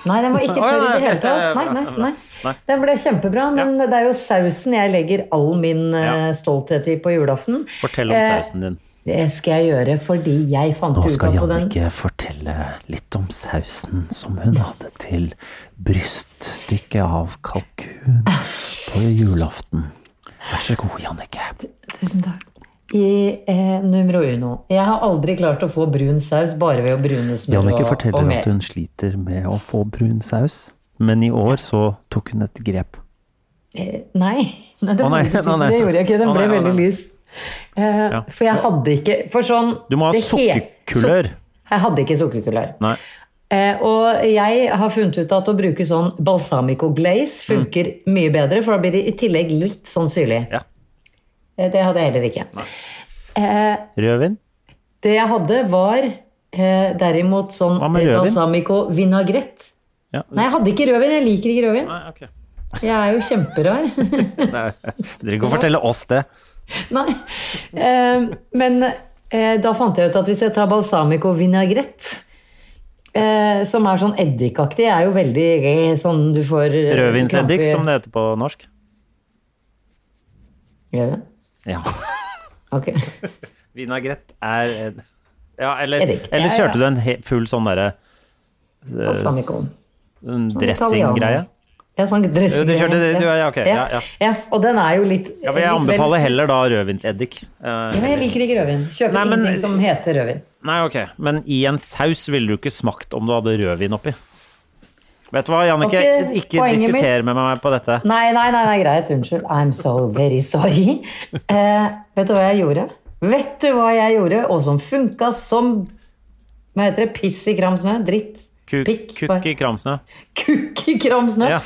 [SPEAKER 1] Nei, den var ikke
[SPEAKER 2] Å, ja,
[SPEAKER 1] tørr i det
[SPEAKER 2] nei,
[SPEAKER 1] hele
[SPEAKER 2] ok, ja, ja,
[SPEAKER 1] tatt. Nei,
[SPEAKER 2] bra,
[SPEAKER 1] nei,
[SPEAKER 2] bra. Nei.
[SPEAKER 1] nei. Den ble kjempebra, men det er jo sausen jeg legger all min eh, stolthet i på julaften.
[SPEAKER 2] Fortell om
[SPEAKER 1] Eh,
[SPEAKER 2] sausen din.
[SPEAKER 1] Det skal jeg gjøre fordi jeg fant
[SPEAKER 2] Nå
[SPEAKER 1] ut
[SPEAKER 2] skal
[SPEAKER 1] at på den
[SPEAKER 2] Jannicke fortelle litt om sausen som hun hadde til bryststykket av kalkun på julaften. Vær så god, Jannicke.
[SPEAKER 1] Tusen takk. I eh, numero uno. Jeg har aldri klart å få brun saus bare ved å brune smør
[SPEAKER 2] Jannicke
[SPEAKER 1] og, og
[SPEAKER 2] forteller
[SPEAKER 1] mer.
[SPEAKER 2] at hun sliter med å få brun saus, men i år så tok hun et grep.
[SPEAKER 1] Eh, Nei, nei, det,
[SPEAKER 2] Å, nei,
[SPEAKER 1] var faktisk
[SPEAKER 2] å,
[SPEAKER 1] ikke-
[SPEAKER 2] nei.
[SPEAKER 1] det gjorde jeg ikke. Den
[SPEAKER 2] Å,
[SPEAKER 1] ble
[SPEAKER 2] nei, å,
[SPEAKER 1] veldig
[SPEAKER 2] nei.
[SPEAKER 1] lys. Eh,
[SPEAKER 2] Ja.
[SPEAKER 1] For jeg hadde ikke For sånn
[SPEAKER 2] Du må ha
[SPEAKER 1] det he-
[SPEAKER 2] sukkerkulør.
[SPEAKER 1] Jeg hadde ikke sukkerkulør.
[SPEAKER 2] Nei.
[SPEAKER 1] Eh, og jeg har funnet ut at å bruke sånn balsamico glaze funker mye bedre, for da blir det i tillegg litt sånn syrlig.
[SPEAKER 2] Mm. Ja.
[SPEAKER 1] Eh, det hadde jeg heller ikke. Eh,
[SPEAKER 2] Rødvin?
[SPEAKER 1] det jeg hadde, var eh, derimot sånn
[SPEAKER 2] Hva med rødvin?
[SPEAKER 1] balsamico vinagrett.
[SPEAKER 2] Ja.
[SPEAKER 1] Nei, jeg hadde ikke rødvin. Jeg liker ikke rødvin.
[SPEAKER 2] Nei, ok.
[SPEAKER 1] Jeg er jo kjemperar.
[SPEAKER 2] Nei, Dere kan fortelle oss det.
[SPEAKER 1] Nei. Eh, men eh, da fant jeg ut at hvis jeg tar balsamico vinagrett, eh, som er sånn eddikaktig, er jo veldig eh, sånn du får eh,
[SPEAKER 2] Rødvinseddik,
[SPEAKER 1] krampe-
[SPEAKER 2] som det heter på norsk.
[SPEAKER 1] Gjør det?
[SPEAKER 2] Ja.
[SPEAKER 1] Ok.
[SPEAKER 2] Vinagrett er en- Ja, eller,
[SPEAKER 1] Eddik.
[SPEAKER 2] eller
[SPEAKER 1] Ja, ja.
[SPEAKER 2] kjørte du en he- full sånn derre eh,
[SPEAKER 1] Balsamico. Sånn
[SPEAKER 2] Dressinggreie?
[SPEAKER 1] Ja, sånn dressing.
[SPEAKER 2] Jo, du kjørte det, du, ja, ok, ja, ja.
[SPEAKER 1] og den er jo litt
[SPEAKER 2] Ja, men jeg
[SPEAKER 1] litt vel-
[SPEAKER 2] anbefaler heller da rødvinseddik.
[SPEAKER 1] Ja, men
[SPEAKER 2] Eh,
[SPEAKER 1] Jeg liker ikke rødvin. Kjøper
[SPEAKER 2] Nei, men-
[SPEAKER 1] ingenting som heter rødvin.
[SPEAKER 2] Nei, ok, men i en saus ville du ikke smakt om du hadde rødvin oppi. Vet du hva, Jannicke,
[SPEAKER 1] Ok,
[SPEAKER 2] ikke
[SPEAKER 1] poenget mitt-
[SPEAKER 2] diskuter med meg på dette.
[SPEAKER 1] Nei, nei, nei, nei, greit. Unnskyld. I'm so very sorry. Eh, vet du hva jeg gjorde? Vet du hva jeg gjorde, og som funka som Hva heter det? Piss i kram snø? Dritt?
[SPEAKER 2] Ku-
[SPEAKER 1] Pikk?
[SPEAKER 2] Kukk i kramsnø.
[SPEAKER 1] Kukk i kram snø?
[SPEAKER 2] Ja.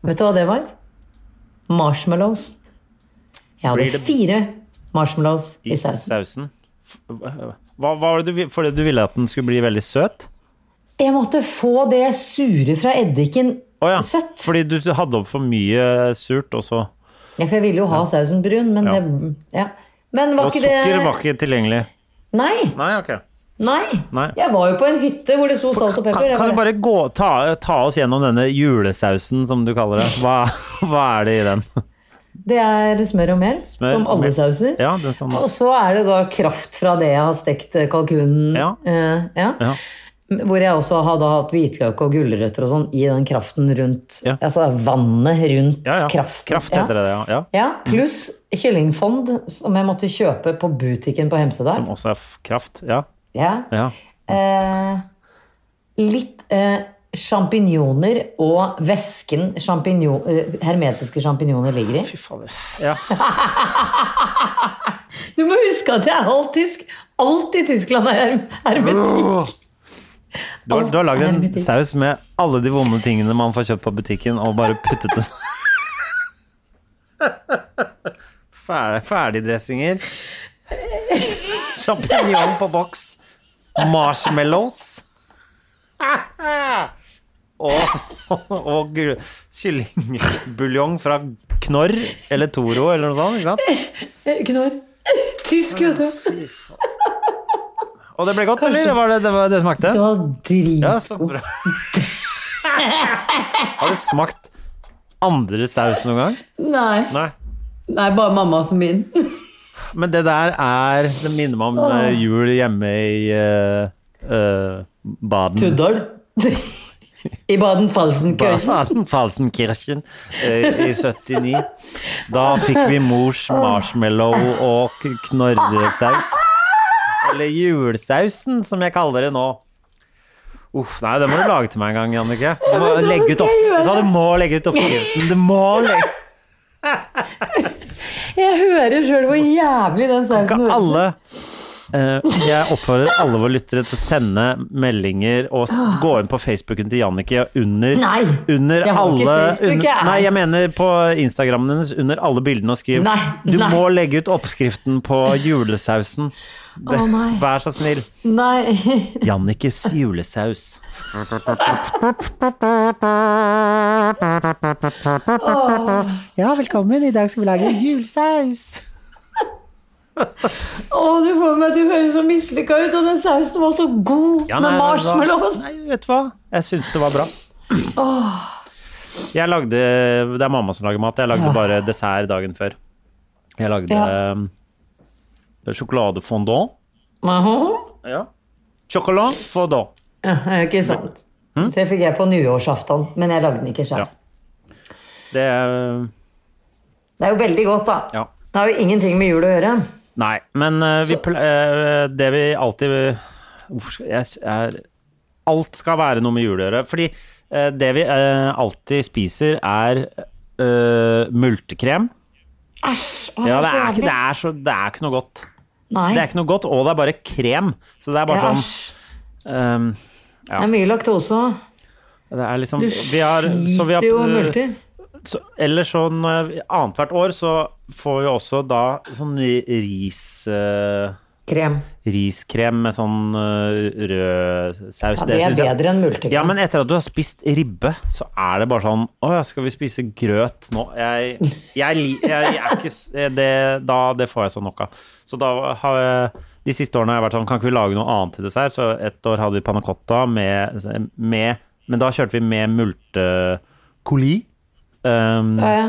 [SPEAKER 1] Vet du hva det var? Marshmallows. Jeg
[SPEAKER 2] Blir
[SPEAKER 1] hadde
[SPEAKER 2] det-
[SPEAKER 1] fire marshmallows i
[SPEAKER 2] I
[SPEAKER 1] sausen.
[SPEAKER 2] sausen. F- Hva, hva var det du, vil- fordi du ville at den skulle bli veldig søt?
[SPEAKER 1] Jeg måtte få det sure fra eddiken
[SPEAKER 2] Å ja,
[SPEAKER 1] søtt.
[SPEAKER 2] fordi du hadde opp for mye surt, og så
[SPEAKER 1] Ja, for jeg ville jo ha sausen brun, men
[SPEAKER 2] Ja.
[SPEAKER 1] det ja. Men var
[SPEAKER 2] Og
[SPEAKER 1] ikke det
[SPEAKER 2] sukker var ikke tilgjengelig.
[SPEAKER 1] Nei!
[SPEAKER 2] Nei, ok.
[SPEAKER 1] Nei.
[SPEAKER 2] Nei.
[SPEAKER 1] Jeg var jo på en hytte hvor det sto salt og pepper.
[SPEAKER 2] Kan,
[SPEAKER 1] Jeg
[SPEAKER 2] kan du bare gå, ta, ta oss gjennom denne julesausen, som du kaller det? Hva, hva er det i den?
[SPEAKER 1] Det er smør og mel,
[SPEAKER 2] Smør
[SPEAKER 1] som
[SPEAKER 2] og
[SPEAKER 1] alle
[SPEAKER 2] mel.
[SPEAKER 1] sauser.
[SPEAKER 2] Ja, den som,
[SPEAKER 1] Og så er det da kraft fra det jeg har stekt eh, kalkunen.
[SPEAKER 2] Ja.
[SPEAKER 1] eh, ja.
[SPEAKER 2] ja.
[SPEAKER 1] Hvor jeg også hadde hatt hvitløk og gulrøtter og sånn i den kraften rundt
[SPEAKER 2] Ja.
[SPEAKER 1] Altså vannet rundt
[SPEAKER 2] Ja, ja.
[SPEAKER 1] kraften.
[SPEAKER 2] Kraft heter det, ja. ja.
[SPEAKER 1] Ja. ja. Pluss kyllingfond som jeg måtte kjøpe på butikken på Hemsedal.
[SPEAKER 2] Som også er f- kraft. Ja.
[SPEAKER 1] Ja.
[SPEAKER 2] ja.
[SPEAKER 1] Eh, litt eh, sjampinjoner og væsken champignon- eh, hermetiske sjampinjoner ligger i.
[SPEAKER 2] Fy fader. Ja.
[SPEAKER 1] Du må huske at jeg er halvt tysk. Alt i Tyskland er her- hermetikk.
[SPEAKER 2] Du har, du har lagd en
[SPEAKER 1] Hermetikk.
[SPEAKER 2] saus med alle de vonde tingene man får kjøpt på butikken, og bare puttet det Fer- Ferdigdressinger. Sjampinjong på boks. Marshmallows. Og, og gru- kyllingbuljong fra Knorr eller Toro eller noe sånt. ikke sant?
[SPEAKER 1] Eh, Knorr. Tysk, vet du.
[SPEAKER 2] Og det ble godt, eller? Var det, det, var det det smakte?
[SPEAKER 1] Det var drit.
[SPEAKER 2] Ja, så bra. Har du smakt andre saus noen gang?
[SPEAKER 1] Nei.
[SPEAKER 2] Nei.
[SPEAKER 1] Nei, bare mamma som min.
[SPEAKER 2] Men det der er Det minner meg om eh, jul hjemme i eh, eh, Baden.
[SPEAKER 1] Tuddal. I Baden-Falsenkirchen.
[SPEAKER 2] Baden-Falsenkirchen eh, i 79. Da fikk vi mors marshmallow og k- knorresaus. Eller julesausen, som jeg kaller det nå. Uff, nei, det må du lage til meg en gang, Jannicke. Du må
[SPEAKER 1] men da
[SPEAKER 2] legge ut
[SPEAKER 1] skal
[SPEAKER 2] opp.
[SPEAKER 1] jeg gjøre
[SPEAKER 2] Vet du hva,
[SPEAKER 1] det.
[SPEAKER 2] Du må legge ut oppskriften. Du må legge
[SPEAKER 1] Jeg hører sjøl hvor jævlig den
[SPEAKER 2] Kan
[SPEAKER 1] sausen
[SPEAKER 2] ikke
[SPEAKER 1] høres
[SPEAKER 2] alle eh, Jeg oppfordrer alle våre lyttere til å sende meldinger og s- gå inn på Facebooken til Jannicke under
[SPEAKER 1] Nei,
[SPEAKER 2] under
[SPEAKER 1] jeg har ikke
[SPEAKER 2] alle
[SPEAKER 1] Facebook,
[SPEAKER 2] under,
[SPEAKER 1] jeg.
[SPEAKER 2] Nei, jeg mener på Instagrammen hennes under alle bildene og skriv
[SPEAKER 1] Nei,
[SPEAKER 2] Du
[SPEAKER 1] nei.
[SPEAKER 2] må legge ut oppskriften på julesausen. Det,
[SPEAKER 1] Å, nei.
[SPEAKER 2] vær så snill.
[SPEAKER 1] Nei.
[SPEAKER 2] Jannikes julesaus. Ja, velkommen. I dag skal vi lage julesaus.
[SPEAKER 1] Å, du får meg til å høre så mislykka ut, og den sausen var så god
[SPEAKER 2] Ja,
[SPEAKER 1] med
[SPEAKER 2] nei, vet du hva?
[SPEAKER 1] marshmallows.
[SPEAKER 2] Nei, vet du hva? Jeg syns det var bra. Jeg lagde Det er mamma som lager mat. Jeg lagde bare dessert dagen før. Jeg lagde
[SPEAKER 1] Ja.
[SPEAKER 2] um, sjokoladefondant.
[SPEAKER 1] Aha.
[SPEAKER 2] Ja. Chocolat fondant.
[SPEAKER 1] Ja, det er ikke sant. Det fikk jeg på nyårsaften, men jeg lagde den ikke sjøl.
[SPEAKER 2] Hm? Ja. Det er-
[SPEAKER 1] Det er jo veldig godt, da.
[SPEAKER 2] Ja.
[SPEAKER 1] Det har jo ingenting med jul å gjøre.
[SPEAKER 2] Nei, men eh, vi ple- eh, det vi alltid Hvorfor skal jeg, jeg Alt skal være noe med jul å gjøre. Fordi eh, det vi eh, alltid spiser, er eh, multekrem.
[SPEAKER 1] Æsj. å,
[SPEAKER 2] Ja, det
[SPEAKER 1] så
[SPEAKER 2] er, ikke,
[SPEAKER 1] jævlig.
[SPEAKER 2] det, er så, det er ikke noe godt.
[SPEAKER 1] Nei.
[SPEAKER 2] Det er ikke noe godt, og det er bare krem. Så det er bare
[SPEAKER 1] Ja,
[SPEAKER 2] sånn
[SPEAKER 1] æsj.
[SPEAKER 2] ehm,
[SPEAKER 1] Det er mye laktose òg.
[SPEAKER 2] Det er liksom
[SPEAKER 1] Du
[SPEAKER 2] vi har, så vi har,
[SPEAKER 1] skiter jo og multer.
[SPEAKER 2] så, Eller sånn eh, annethvert år så får vi også da sånn ris... eh,
[SPEAKER 1] Krem.
[SPEAKER 2] Riskrem med sånn eh, rød saus.
[SPEAKER 1] Ja, det er
[SPEAKER 2] synes jeg-
[SPEAKER 1] bedre enn multekrem.
[SPEAKER 2] Ja, men etter at du har spist ribbe, så er det bare sånn Å ja, skal vi spise grøt nå? Jeg, jeg, li- jeg, jeg er ikke s- eh, det, da, det får jeg så nok av. Så da har jeg De siste årene har jeg vært sånn Kan ikke vi lage noe annet til dessert? Så et år hadde vi panna cotta med, med Men da kjørte vi med multekoli. Um,
[SPEAKER 1] Ja, ja.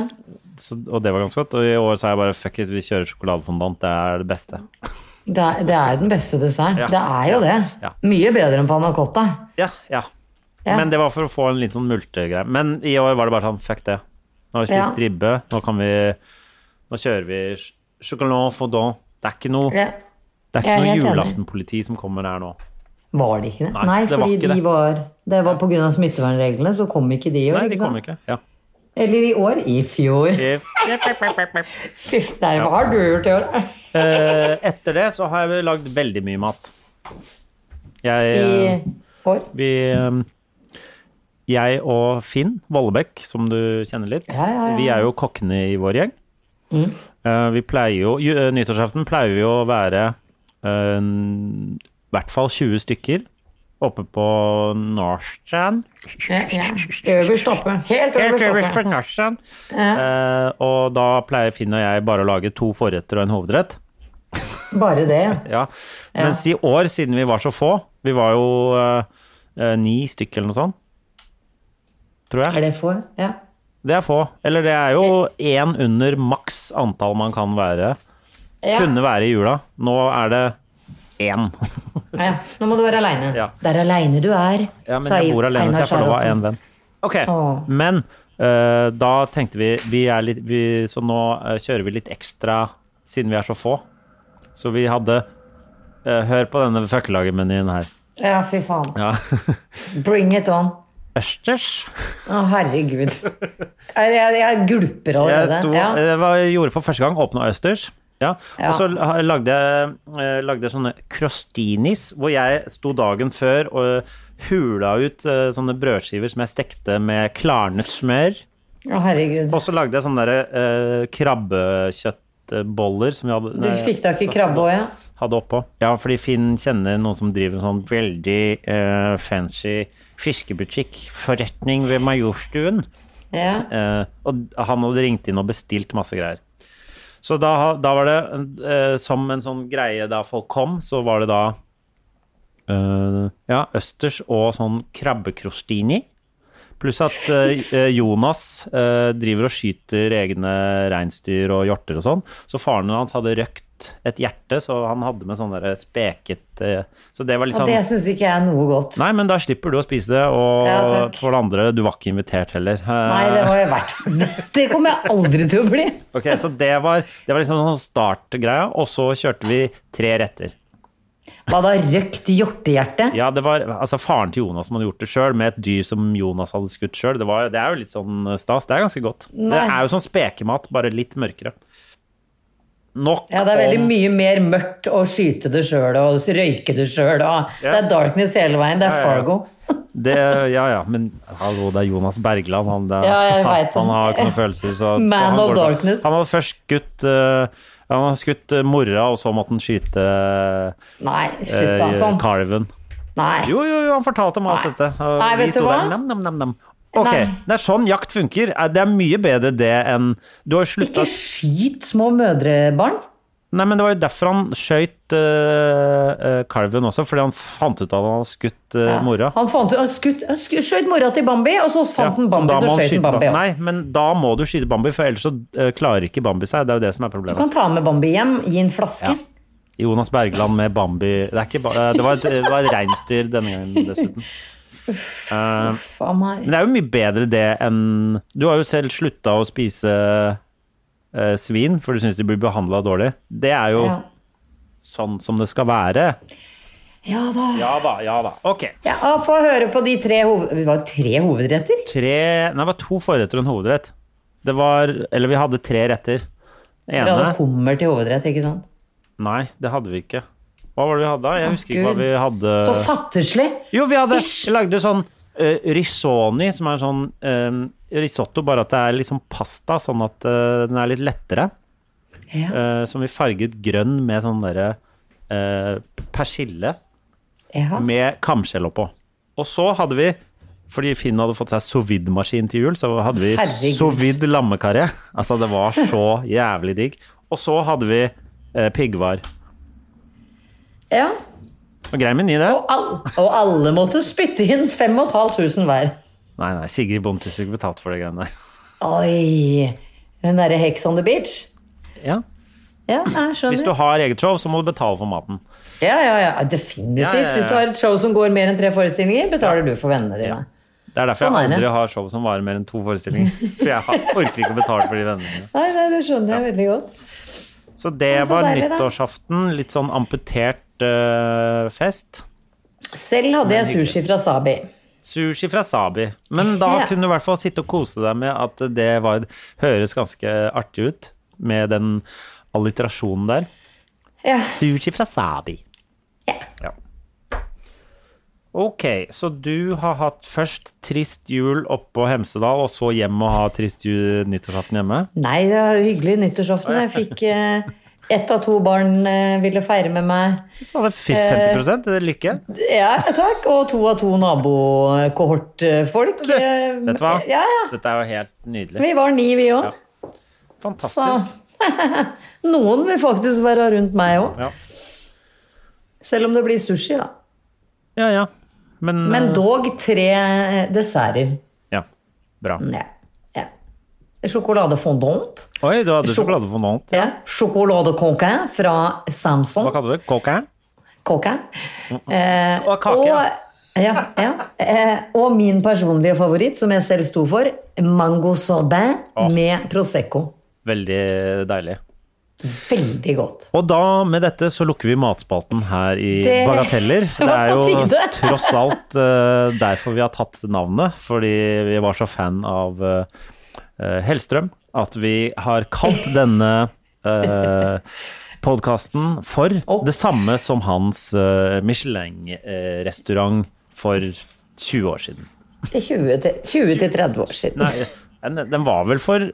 [SPEAKER 2] så, og det var ganske godt. Og i år så er jeg bare fuck it, vi kjører sjokoladefondant. Det er det beste.
[SPEAKER 1] Det er, det er den beste dessert.
[SPEAKER 2] Ja.
[SPEAKER 1] Det er jo det.
[SPEAKER 2] Ja.
[SPEAKER 1] Mye bedre enn panna cotta.
[SPEAKER 2] Ja, ja.
[SPEAKER 1] Ja.
[SPEAKER 2] Men det var for å få en litt sånn multegreie. Men i år var det bare sånn, fuck det. Nå har vi spist
[SPEAKER 1] Ja.
[SPEAKER 2] ribbe, nå kan vi Nå kjører vi ch- chocolat fondant. Det er ikke noe,
[SPEAKER 1] Ja. jeg
[SPEAKER 2] det er
[SPEAKER 1] er
[SPEAKER 2] ikke noe
[SPEAKER 1] helt enig.
[SPEAKER 2] julaftenpoliti som kommer her nå.
[SPEAKER 1] Var det ikke det?
[SPEAKER 2] Nei,
[SPEAKER 1] Nei,
[SPEAKER 2] det var
[SPEAKER 1] fordi
[SPEAKER 2] ikke
[SPEAKER 1] de
[SPEAKER 2] det.
[SPEAKER 1] var Det var pga. smittevernreglene, så kom ikke de i år.
[SPEAKER 2] Nei, de
[SPEAKER 1] ikke sant?
[SPEAKER 2] kommer ikke. Ja. Eh,
[SPEAKER 1] Eller i år. I fjor.
[SPEAKER 2] If,
[SPEAKER 1] Fy, nei, hva har du gjort i år?
[SPEAKER 2] eh, etter det så har jeg lagd veldig mye mat. Jeg eh,
[SPEAKER 1] I år?
[SPEAKER 2] Vi eh, Jeg og Finn Vollebekk, som du kjenner litt,
[SPEAKER 1] Ja, ja, Mm. ja.
[SPEAKER 2] vi er jo kokkene i vår gjeng. Eh, vi pleier jo ju- eh, Nyttårsaften pleier vi å være eh, n- i hvert fall 20 stykker oppe på Norstrand.
[SPEAKER 1] Ja, ja. Øverst oppe. Helt øverst
[SPEAKER 2] Øverst
[SPEAKER 1] oppe.
[SPEAKER 2] på Norstrand. Eh, og da pleier Finn og jeg bare å lage to forretter og en hovedrett.
[SPEAKER 1] Bare det.
[SPEAKER 2] Ja. Mens i år, siden vi var så få, vi var jo eh, eh, ni stykker eller noe sånt, tror jeg.
[SPEAKER 1] Er det for? Ja.
[SPEAKER 2] Det er få. Eller det er jo én under maks antall man kan være.
[SPEAKER 1] Ja.
[SPEAKER 2] Kunne være i jula. Nå er det én.
[SPEAKER 1] ja. Nå må du være aleine.
[SPEAKER 2] Ja.
[SPEAKER 1] Det er aleine du er,
[SPEAKER 2] Ja, men jeg bor alene, så jeg får lov av én venn. Ok,
[SPEAKER 1] Åh.
[SPEAKER 2] Men eh, da tenkte vi, vi, er litt, vi Så nå eh, kjører vi litt ekstra, siden vi er så få. Så vi hadde eh, Hør på denne føkkelagermenyen her.
[SPEAKER 1] Ja, fy faen.
[SPEAKER 2] Ja.
[SPEAKER 1] Bring it on.
[SPEAKER 2] Østers.
[SPEAKER 1] Å, herregud. Jeg, jeg, jeg gulper
[SPEAKER 2] Jeg
[SPEAKER 1] allerede.
[SPEAKER 2] sto, eh,
[SPEAKER 1] ja.
[SPEAKER 2] det var, jeg gjorde for første gang, åpna østers. Ja.
[SPEAKER 1] Ja.
[SPEAKER 2] Og så la- lagde jeg, eh, lagde jeg sånne crostinis, hvor jeg sto dagen før og hula ut eh, sånne brødskiver som jeg stekte med klarnet smør.
[SPEAKER 1] Å, herregud.
[SPEAKER 2] Og så lagde jeg sånne der, eh, krabbekjøttboller som vi hadde, eh,
[SPEAKER 1] Du fikk tak i krabbe òg, ja?
[SPEAKER 2] hadde oppå. Ja, fordi Finn kjenner noen som driver en sånn veldig eh, fancy fiskebutikk, forretning ved Majorstuen.
[SPEAKER 1] ja?
[SPEAKER 2] Eh, og han hadde ringt inn og bestilt masse greier. Så da, da var det eh, som en sånn greie da folk kom, så var det da eh, Ja, østers og sånn krabbekrostini. Pluss at eh, Jonas eh, driver og skyter egne reinsdyr og hjorter og sånn. Så faren hans hadde røkt rundt et hjerte, så han hadde med sånn der speket eh, Så det var litt
[SPEAKER 1] Og
[SPEAKER 2] sånn
[SPEAKER 1] det syns ikke jeg er noe godt.
[SPEAKER 2] Nei, men da slipper du å spise det, og
[SPEAKER 1] Ja, takk.
[SPEAKER 2] for det andre, du var ikke invitert heller. Eh,
[SPEAKER 1] Nei, det var jeg vært Det kommer jeg aldri til å bli.
[SPEAKER 2] Ok, Så det var, det var liksom sånn startgreia, og så kjørte vi tre retter.
[SPEAKER 1] Hva da, røkt hjortehjerte?
[SPEAKER 2] Ja, det var altså faren til Jonas som hadde gjort det sjøl, med et dyr som Jonas hadde skutt sjøl. Det, var- det er jo litt sånn stas. Det er ganske godt. Det
[SPEAKER 1] Nei.
[SPEAKER 2] er jo sånn spekemat, bare litt mørkere. Nok
[SPEAKER 1] Ja, det er veldig
[SPEAKER 2] om
[SPEAKER 1] mye mer mørkt å skyte det sjøl og røyke det sjøl. og Det
[SPEAKER 2] Ja.
[SPEAKER 1] er darkness hele veien. Det er
[SPEAKER 2] Ja, ja, ja.
[SPEAKER 1] Fargo.
[SPEAKER 2] det, Ja ja, men hallo, det er Jonas Bergland. Han, det,
[SPEAKER 1] Ja, jeg
[SPEAKER 2] han,
[SPEAKER 1] vet det.
[SPEAKER 2] han har ikke noen følelser, så
[SPEAKER 1] Man
[SPEAKER 2] så han
[SPEAKER 1] of
[SPEAKER 2] går til-
[SPEAKER 1] darkness.
[SPEAKER 2] Han hadde først skutt eh, Han hadde skutt eh, mora, og så måtte han skyte
[SPEAKER 1] Nei, slutt da.
[SPEAKER 2] eh,
[SPEAKER 1] Sånn.
[SPEAKER 2] kalven.
[SPEAKER 1] Nei.
[SPEAKER 2] Jo, jo, jo, han fortalte om
[SPEAKER 1] Nei.
[SPEAKER 2] alt dette. og
[SPEAKER 1] Nei,
[SPEAKER 2] vi
[SPEAKER 1] vet du
[SPEAKER 2] sto
[SPEAKER 1] hva?
[SPEAKER 2] der, Nam, nam, nam, nam. Ok,
[SPEAKER 1] Nei.
[SPEAKER 2] det er sånn jakt funker. Eh, Det er mye bedre det enn Du har jo slutta
[SPEAKER 1] Ikke skyt små mødrebarn.
[SPEAKER 2] Nei, men det var jo derfor han skøyt eh, eh, kalven også, fordi han fant ut at han hadde skutt eh, mora.
[SPEAKER 1] Han fant ut, han skutt, han skutt, skjøt mora til Bambi, og så
[SPEAKER 2] Ja,
[SPEAKER 1] fant han Bambi,
[SPEAKER 2] da må
[SPEAKER 1] så
[SPEAKER 2] han
[SPEAKER 1] skjøt
[SPEAKER 2] skyte
[SPEAKER 1] han Bambi
[SPEAKER 2] Bambi.
[SPEAKER 1] òg.
[SPEAKER 2] Nei, men da må du skyte Bambi, for ellers så eh, klarer ikke Bambi seg. Det er jo det som er
[SPEAKER 1] Du
[SPEAKER 2] problemet.
[SPEAKER 1] kan ta med Bambi hjem i en flaske.
[SPEAKER 2] Ja. Jonas Bergland med Bambi Det, er ikke ba eh, det var et, det var et reinsdyr denne gangen, dessuten.
[SPEAKER 1] Uff a meg.
[SPEAKER 2] Men det er jo mye bedre det enn Du har jo selv slutta å spise eh, svin, for du syns de blir behandla dårlig. Det er jo
[SPEAKER 1] Ja.
[SPEAKER 2] sånn som det skal være.
[SPEAKER 1] ja da.
[SPEAKER 2] Ja da, ja da. Ok.
[SPEAKER 1] Ja, og Få høre på de tre, hoved... det var tre hovedretter.
[SPEAKER 2] Tre Nei, det var to forretter og en hovedrett. Det var Eller vi hadde tre retter.
[SPEAKER 1] Dere hadde
[SPEAKER 2] Ene
[SPEAKER 1] hummer til hovedrett, ikke sant?
[SPEAKER 2] Nei, det hadde vi ikke. Hva var det vi hadde da? Jeg husker ikke hva
[SPEAKER 1] Gud.
[SPEAKER 2] vi hadde
[SPEAKER 1] Så fattigslig!
[SPEAKER 2] Jo, vi hadde
[SPEAKER 1] Ish.
[SPEAKER 2] vi lagde sånn eh, risoni, som er sånn eh, risotto, bare at det er liksom pasta, sånn at eh, den er litt lettere.
[SPEAKER 1] Ja,
[SPEAKER 2] eh, som vi farget grønn med sånn derre eh, persille Eh.
[SPEAKER 1] ja.
[SPEAKER 2] med kamskjell oppå. Og så hadde vi, fordi Finn hadde fått seg sous vide-maskin til jul, så hadde vi
[SPEAKER 1] Herregud.
[SPEAKER 2] sous vide lammekaré. Altså, det var så jævlig digg. Og så hadde vi eh, piggvar.
[SPEAKER 1] ja.
[SPEAKER 2] Og grei meny, det.
[SPEAKER 1] Og, all... og alle måtte spytte inn 5500 hver.
[SPEAKER 2] Nei, nei, Sigrid Bonde skulle ikke betalt for det greiene der.
[SPEAKER 1] Oi! Hun derre Hex on the beach?
[SPEAKER 2] Ja.
[SPEAKER 1] Ja, jeg
[SPEAKER 2] Hvis du
[SPEAKER 1] skjønner.
[SPEAKER 2] har eget show, så må du betale for maten.
[SPEAKER 1] Ja, ja, ja, definitivt.
[SPEAKER 2] Ja, ja, ja.
[SPEAKER 1] Hvis du har et show som går mer enn tre forestillinger, betaler du for vennene dine.
[SPEAKER 2] Det er derfor
[SPEAKER 1] Sånn er
[SPEAKER 2] jeg
[SPEAKER 1] det.
[SPEAKER 2] aldri har show som varer mer enn to forestillinger. For jeg har- orker ikke å betale for de vennene mine.
[SPEAKER 1] Nei, nei, det skjønner jeg veldig godt.
[SPEAKER 2] Så det
[SPEAKER 1] Så
[SPEAKER 2] var
[SPEAKER 1] deilig, da.
[SPEAKER 2] nyttårsaften. Litt sånn amputert eh, fest.
[SPEAKER 1] Selv hadde jeg sushi fra Sabi.
[SPEAKER 2] Sushi fra Sabi. Men da
[SPEAKER 1] Ja.
[SPEAKER 2] kunne du i hvert fall sitte og kose deg med at det var, høres ganske artig ut med den alliterasjonen der.
[SPEAKER 1] Ja.
[SPEAKER 2] Sushi fra Sabi. Ja. Ok, så du har hatt først trist jul oppå Hemsedal, og så hjem og ha trist jul nyttårsaften hjemme?
[SPEAKER 1] Nei, det var hyggelig nyttårsaften. Jeg fikk eh, ett av to barn eh, ville feire med meg.
[SPEAKER 2] Så hadde
[SPEAKER 1] Eh.
[SPEAKER 2] 50 er det lykke.
[SPEAKER 1] Ja, takk. Og to av to nabokohortfolk. Eh,
[SPEAKER 2] Vet du hva?
[SPEAKER 1] Ja, ja.
[SPEAKER 2] Dette er jo helt nydelig.
[SPEAKER 1] Vi var ni, vi òg. Så
[SPEAKER 2] Fantastisk.
[SPEAKER 1] noen vil faktisk være rundt meg òg.
[SPEAKER 2] Ja.
[SPEAKER 1] Selv om det blir sushi, da.
[SPEAKER 2] Ja, ja. Men,
[SPEAKER 1] Men dog tre eh, desserter.
[SPEAKER 2] Ja, bra.
[SPEAKER 1] Ja. ja. Sjokoladefondant.
[SPEAKER 2] Oi, du hadde
[SPEAKER 1] Sjok-
[SPEAKER 2] sjokolade for noe annet.
[SPEAKER 1] Ja. Sjokoladekonke fra Samson.
[SPEAKER 2] Hva kaller du det? Cocaine?
[SPEAKER 1] Kåke. Eh,
[SPEAKER 2] Og kake, ja.
[SPEAKER 1] ja, ja. Eh, og min personlige favoritt, som jeg selv sto for, mango sorbet med Prosecco.
[SPEAKER 2] Veldig deilig.
[SPEAKER 1] Veldig godt.
[SPEAKER 2] Og da, med dette, så lukker vi matspalten her i
[SPEAKER 1] Det
[SPEAKER 2] Bagateller. Det
[SPEAKER 1] var
[SPEAKER 2] er
[SPEAKER 1] på
[SPEAKER 2] jo
[SPEAKER 1] tide.
[SPEAKER 2] tross alt eh, derfor vi har tatt navnet, fordi vi var så fan av eh, eh, Hellstrøm at vi har kalt denne uh, podkasten for
[SPEAKER 1] Opp.
[SPEAKER 2] det samme som hans eh, Michelin-restaurant for 20 år siden.
[SPEAKER 1] Det er 20 til- 20 til 30 år siden.
[SPEAKER 2] Nei, den, den var vel for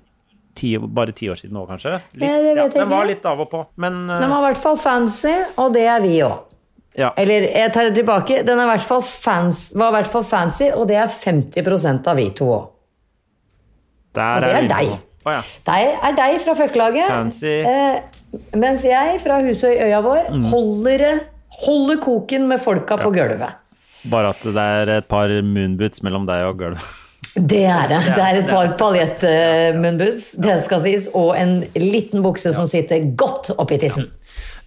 [SPEAKER 2] ti, bare ti år siden nå, kanskje? Litt,
[SPEAKER 1] Nei, det vet jeg
[SPEAKER 2] ja, den
[SPEAKER 1] ikke.
[SPEAKER 2] var litt av og på, men eh,
[SPEAKER 1] Den var i hvert fall fancy, og det er vi òg.
[SPEAKER 2] ja.
[SPEAKER 1] Eller jeg tar det tilbake. Den er i hvert fall fans, var i hvert fall fancy, og det er 50 av vi to òg.
[SPEAKER 2] Der
[SPEAKER 1] og det
[SPEAKER 2] vi
[SPEAKER 1] er
[SPEAKER 2] inne
[SPEAKER 1] deg.
[SPEAKER 2] på. Å, ja.
[SPEAKER 1] Deg er deg fra Føkkelaget.
[SPEAKER 2] Fancy. Mm.
[SPEAKER 1] Eh, mens jeg fra Husøy øya vår holder, det- holder koken med folka på gulvet.
[SPEAKER 2] Bare at det er et par moonboots mellom deg og gulvet.
[SPEAKER 1] Det er det. Det er et par eh, paljettmunnbuds, det skal sies, og en liten bukse som sitter godt oppi tissen.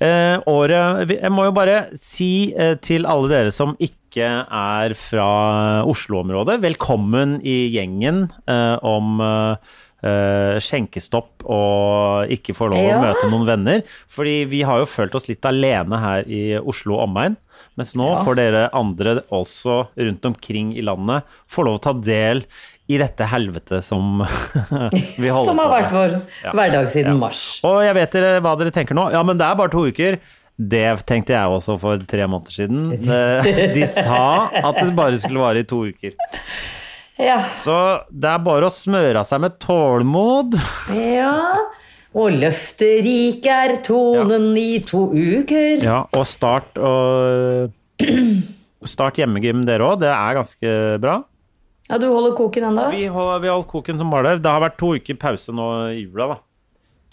[SPEAKER 2] Eh, året vi- Jeg må jo bare si eh, til alle dere som ikke er fra Oslo-området, velkommen i gjengen eh, om eh, eh, skjenkestopp og ikke få lov å
[SPEAKER 1] Ja.
[SPEAKER 2] møte noen venner. Fordi vi har jo følt oss litt alene her i Oslo og omegn. Mens nå får dere andre også rundt omkring i landet få lov å ta del i dette helvetet som vi holder
[SPEAKER 1] Som har
[SPEAKER 2] på med.
[SPEAKER 1] vært vår
[SPEAKER 2] Ja.
[SPEAKER 1] hverdag siden mars.
[SPEAKER 2] Og jeg vet dere hva dere tenker nå. Ja, men det er bare to uker. Det tenkte jeg også for tre måneder siden. Eh, De sa at det bare skulle vare i to uker.
[SPEAKER 1] Ja.
[SPEAKER 2] Så det er bare å smøre av seg med tålmod.
[SPEAKER 1] ja. Og løfterik er tonen i to uker.
[SPEAKER 2] Ja, og start og Start hjemmegym, dere òg. Det er ganske bra.
[SPEAKER 1] Ja, du holder koken ennå?
[SPEAKER 2] Vi holder, vi holder koken som bare der. Det har vært to uker pause nå i jula, da.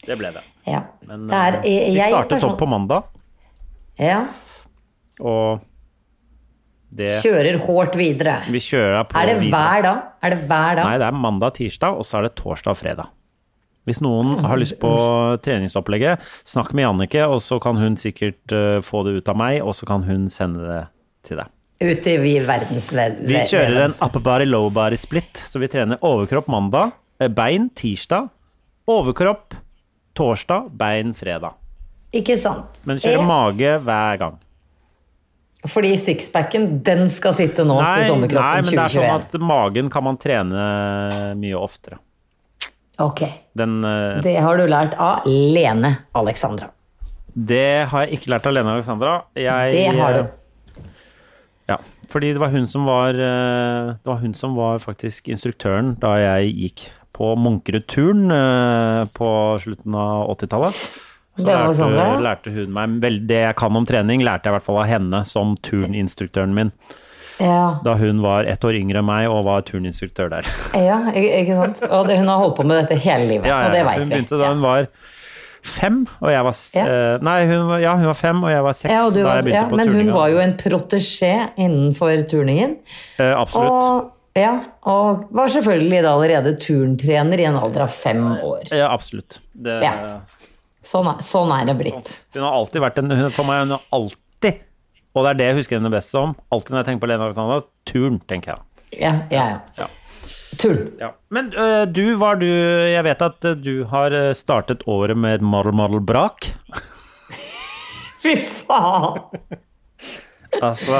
[SPEAKER 2] Det ble det.
[SPEAKER 1] Ja.
[SPEAKER 2] Men,
[SPEAKER 1] Det er-
[SPEAKER 2] eh,
[SPEAKER 1] jeg-
[SPEAKER 2] vi
[SPEAKER 1] jeg
[SPEAKER 2] startet
[SPEAKER 1] person-
[SPEAKER 2] opp på mandag,
[SPEAKER 1] Ja.
[SPEAKER 2] og det
[SPEAKER 1] Kjører hårdt videre.
[SPEAKER 2] Vi kjører på
[SPEAKER 1] Er det
[SPEAKER 2] videre.
[SPEAKER 1] hver dag? Er det hver dag?
[SPEAKER 2] Nei, det er mandag, tirsdag, og så er det torsdag og fredag. Hvis noen
[SPEAKER 1] Mm.
[SPEAKER 2] har lyst på treningsopplegget, snakk med Jannike, og så kan hun sikkert eh, få det ut av meg, og så kan hun sende det til deg.
[SPEAKER 1] Ute i verdensverden.
[SPEAKER 2] Vi kjører en upper body, low body split, så vi trener overkropp mandag, eh, bein tirsdag, overkropp torsdag, bein fredag.
[SPEAKER 1] Ikke sant?
[SPEAKER 2] Men kjører
[SPEAKER 1] Eh,
[SPEAKER 2] mage hver gang.
[SPEAKER 1] Fordi sixpacken, den skal sitte nå
[SPEAKER 2] Nei,
[SPEAKER 1] til
[SPEAKER 2] nei, men
[SPEAKER 1] sommerkroppen
[SPEAKER 2] det er
[SPEAKER 1] 2021.
[SPEAKER 2] sånn at magen kan man trene eh, mye oftere.
[SPEAKER 1] Ok,
[SPEAKER 2] Den, eh,
[SPEAKER 1] det har du lært av Lene Alexandra.
[SPEAKER 2] det har jeg ikke lært av Lene Alexandra. Jeg, eh,
[SPEAKER 1] Det har du.
[SPEAKER 2] Ja, fordi det var hun som var eh, Det var hun som var faktisk instruktøren da jeg gikk på Munkerud-turen eh, på slutten av 80-tallet. Så
[SPEAKER 1] Det var
[SPEAKER 2] lærte,
[SPEAKER 1] sånn, ja.
[SPEAKER 2] lærte hun meg vel, Det jeg kan om trening, lærte jeg i hvert fall av henne som turninstruktøren min.
[SPEAKER 1] Ja,
[SPEAKER 2] Da hun var ett år yngre enn meg og var turninstruktør der.
[SPEAKER 1] ja ikke ikke sant? Og det, hun har holdt på med dette hele livet,
[SPEAKER 2] Ja, ja,
[SPEAKER 1] og det
[SPEAKER 2] ja.
[SPEAKER 1] vet
[SPEAKER 2] hun
[SPEAKER 1] vi.
[SPEAKER 2] begynte da hun var fem, og jeg var s-
[SPEAKER 1] Ja.
[SPEAKER 2] eh, Nei, hun var, ja, hun var fem, og jeg var seks
[SPEAKER 1] ja, og du
[SPEAKER 2] da
[SPEAKER 1] var,
[SPEAKER 2] jeg begynte
[SPEAKER 1] ja,
[SPEAKER 2] på
[SPEAKER 1] men hun
[SPEAKER 2] turninga.
[SPEAKER 1] var jo en protesjé innenfor turningen.
[SPEAKER 2] Eh, absolutt.
[SPEAKER 1] Og, ja, og var selvfølgelig da allerede turntrener i en alder av fem år.
[SPEAKER 2] Ja, absolutt. Det,
[SPEAKER 1] Ja. Sånn er, sånn er det blitt.
[SPEAKER 2] Hun har alltid vært en hun, For meg hun har alltid Og det er det jeg husker henne best som. Alltid når jeg tenker på Lene Alexandra, turn, tenker jeg.
[SPEAKER 1] Ja, ja, ja. Turn.
[SPEAKER 2] Men øh, du var du Jeg vet at øh, du har øh, startet året med et marl-marl-brak.
[SPEAKER 1] Fy faen!
[SPEAKER 2] Altså,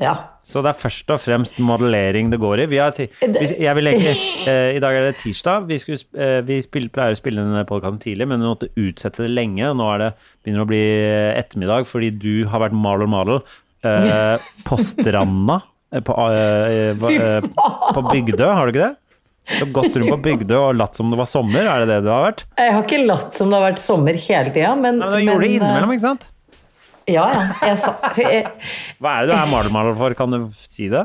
[SPEAKER 1] Ja.
[SPEAKER 2] så det er først og fremst modellering det går i. Vi har, ti- vi, jeg vil egentlig, øh, I dag er det tirsdag. Vi, skulle, sp- øh, vi spill, pleier å spille denne podkasten tidlig, men vi måtte utsette det lenge. og Nå er det, begynner det å bli eh, ettermiddag fordi du har vært marl-marl øh, på stranda. øh, På, øh, hva-
[SPEAKER 1] Fy
[SPEAKER 2] øh, på Bygdø, har du ikke det? Du har gått rundt på Bygdø og latt som det var sommer, er det det du har vært?
[SPEAKER 1] Jeg har ikke latt som det har vært sommer hele tida, men,
[SPEAKER 2] Nei, men du gjorde det innimellom, ikke sant?
[SPEAKER 1] eh, Ja, ja. Jeg sa, for jeg,
[SPEAKER 2] Hva er det du er marl-marl for, kan du si det?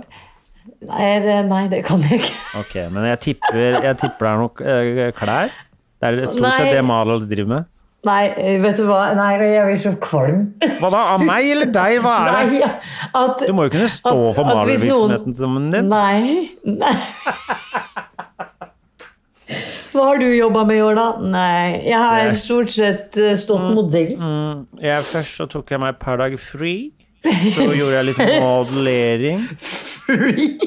[SPEAKER 1] nei, det, nei, det kan jeg ikke.
[SPEAKER 2] Ok, men jeg tipper, jeg tipper det er nok eh, klær. Det er stort sett
[SPEAKER 1] Nei.
[SPEAKER 2] det Malal driver med.
[SPEAKER 1] Nei, eh, vet du hva. Nei, jeg blir så kvalm.
[SPEAKER 2] Hva da, av meg eller deg, hva er det?
[SPEAKER 1] Nei, at,
[SPEAKER 2] Du må jo kunne stå
[SPEAKER 1] at-
[SPEAKER 2] for
[SPEAKER 1] at hvis noen-
[SPEAKER 2] malervirksomheten din.
[SPEAKER 1] Nei. nei. Hva har du jobba med i år, da? Nei, jeg har
[SPEAKER 2] Det-
[SPEAKER 1] stort sett eh,
[SPEAKER 2] Mm.
[SPEAKER 1] stått modell.
[SPEAKER 2] Jeg, først så tok jeg meg et par dager fri. Så gjorde jeg litt modellering. Mm.
[SPEAKER 1] Free.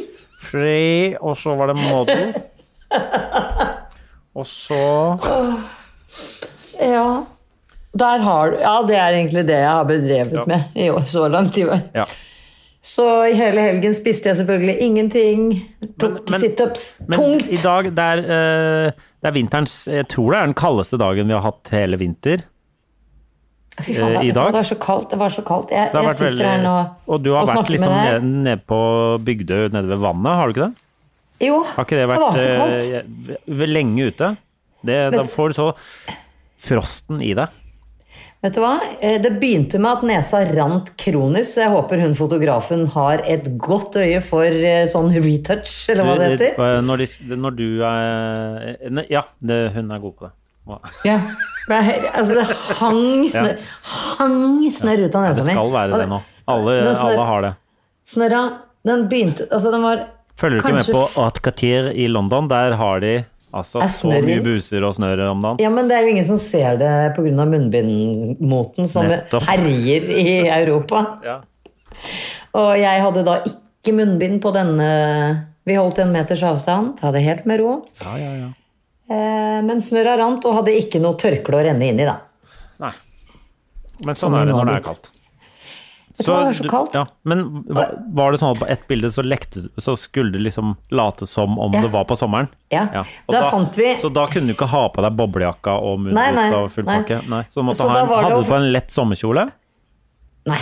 [SPEAKER 2] Fri, og så var det modell. Og så
[SPEAKER 1] Ja. Der har du Ja, det er egentlig det jeg har bedrevet med i år så langt. i år.
[SPEAKER 2] Ja.
[SPEAKER 1] Så i hele helgen spiste jeg selvfølgelig ingenting. Tok
[SPEAKER 2] men-
[SPEAKER 1] situps.
[SPEAKER 2] Men
[SPEAKER 1] Tungt.
[SPEAKER 2] i dag, det er, eh, det er vinterens Jeg tror det er den kaldeste dagen vi har hatt hele vinter.
[SPEAKER 1] Fy faen,
[SPEAKER 2] eh, i
[SPEAKER 1] vet du hva,
[SPEAKER 2] dag-
[SPEAKER 1] det er så kaldt. Det var så kaldt. Jeg,
[SPEAKER 2] Det har
[SPEAKER 1] jeg
[SPEAKER 2] vært
[SPEAKER 1] sitter her nå
[SPEAKER 2] veldig Og du har
[SPEAKER 1] og
[SPEAKER 2] vært
[SPEAKER 1] snakker
[SPEAKER 2] liksom
[SPEAKER 1] med deg.
[SPEAKER 2] nede ned på Bygdøy, nede ved vannet, har du ikke det?
[SPEAKER 1] Jo,
[SPEAKER 2] Har ikke det vært
[SPEAKER 1] var så kaldt.
[SPEAKER 2] eh, v- v- lenge ute? Det, da
[SPEAKER 1] Vet-
[SPEAKER 2] får du så frosten i deg.
[SPEAKER 1] Vet du hva? Eh, Det begynte med at nesa rant kronisk, så jeg håper hun fotografen har et godt øye for eh, sånn retouch, eller hva det
[SPEAKER 2] Du,
[SPEAKER 1] heter.
[SPEAKER 2] eh, Når, de, s- når du er eh, ne- Ja, det, hun er god på det. Hva-
[SPEAKER 1] Ja. Det er- Altså, det hang snørr hang snørr ut av nesa mi.
[SPEAKER 2] Det skal være
[SPEAKER 1] sånn, Og
[SPEAKER 2] det nå. Alle,
[SPEAKER 1] den snørr-
[SPEAKER 2] alle har det.
[SPEAKER 1] Snørra, den begynte Altså, den var
[SPEAKER 2] Følger du ikke med
[SPEAKER 1] Kanskje-
[SPEAKER 2] på Haute Quartier i London? Der har de Altså,
[SPEAKER 1] Jeg
[SPEAKER 2] så
[SPEAKER 1] snør
[SPEAKER 2] mye
[SPEAKER 1] litt.
[SPEAKER 2] buser og snørr om dagen.
[SPEAKER 1] Ja, men det er jo ingen som ser det pga. munnbindmoten som
[SPEAKER 2] Nettopp.
[SPEAKER 1] herjer i Europa.
[SPEAKER 2] Ja.
[SPEAKER 1] Og jeg hadde da ikke munnbind på denne Vi holdt en meters avstand, ta det helt med ro.
[SPEAKER 2] Ja, ja, ja.
[SPEAKER 1] Eh, men snørra rant og hadde ikke noe tørkle å renne inn i, da.
[SPEAKER 2] Nei. Men sånn er det når det er kaldt.
[SPEAKER 1] Vet du hva, det var så
[SPEAKER 2] du-
[SPEAKER 1] kaldt.
[SPEAKER 2] Ja, men var, var det sånn at på ett bilde så, lekte, så skulle du liksom late som om
[SPEAKER 1] Ja.
[SPEAKER 2] det var på sommeren?
[SPEAKER 1] Ja.
[SPEAKER 2] Og
[SPEAKER 1] Da fant vi-
[SPEAKER 2] Så da kunne du ikke ha på deg boblejakka og
[SPEAKER 1] Nei, nei,
[SPEAKER 2] munnbuksa og full
[SPEAKER 1] nei.
[SPEAKER 2] pakke? Nei. Så du måtte
[SPEAKER 1] Så
[SPEAKER 2] ha
[SPEAKER 1] da
[SPEAKER 2] en,
[SPEAKER 1] var det
[SPEAKER 2] hadde
[SPEAKER 1] jo-
[SPEAKER 2] du på en lett sommerkjole?
[SPEAKER 1] Nei.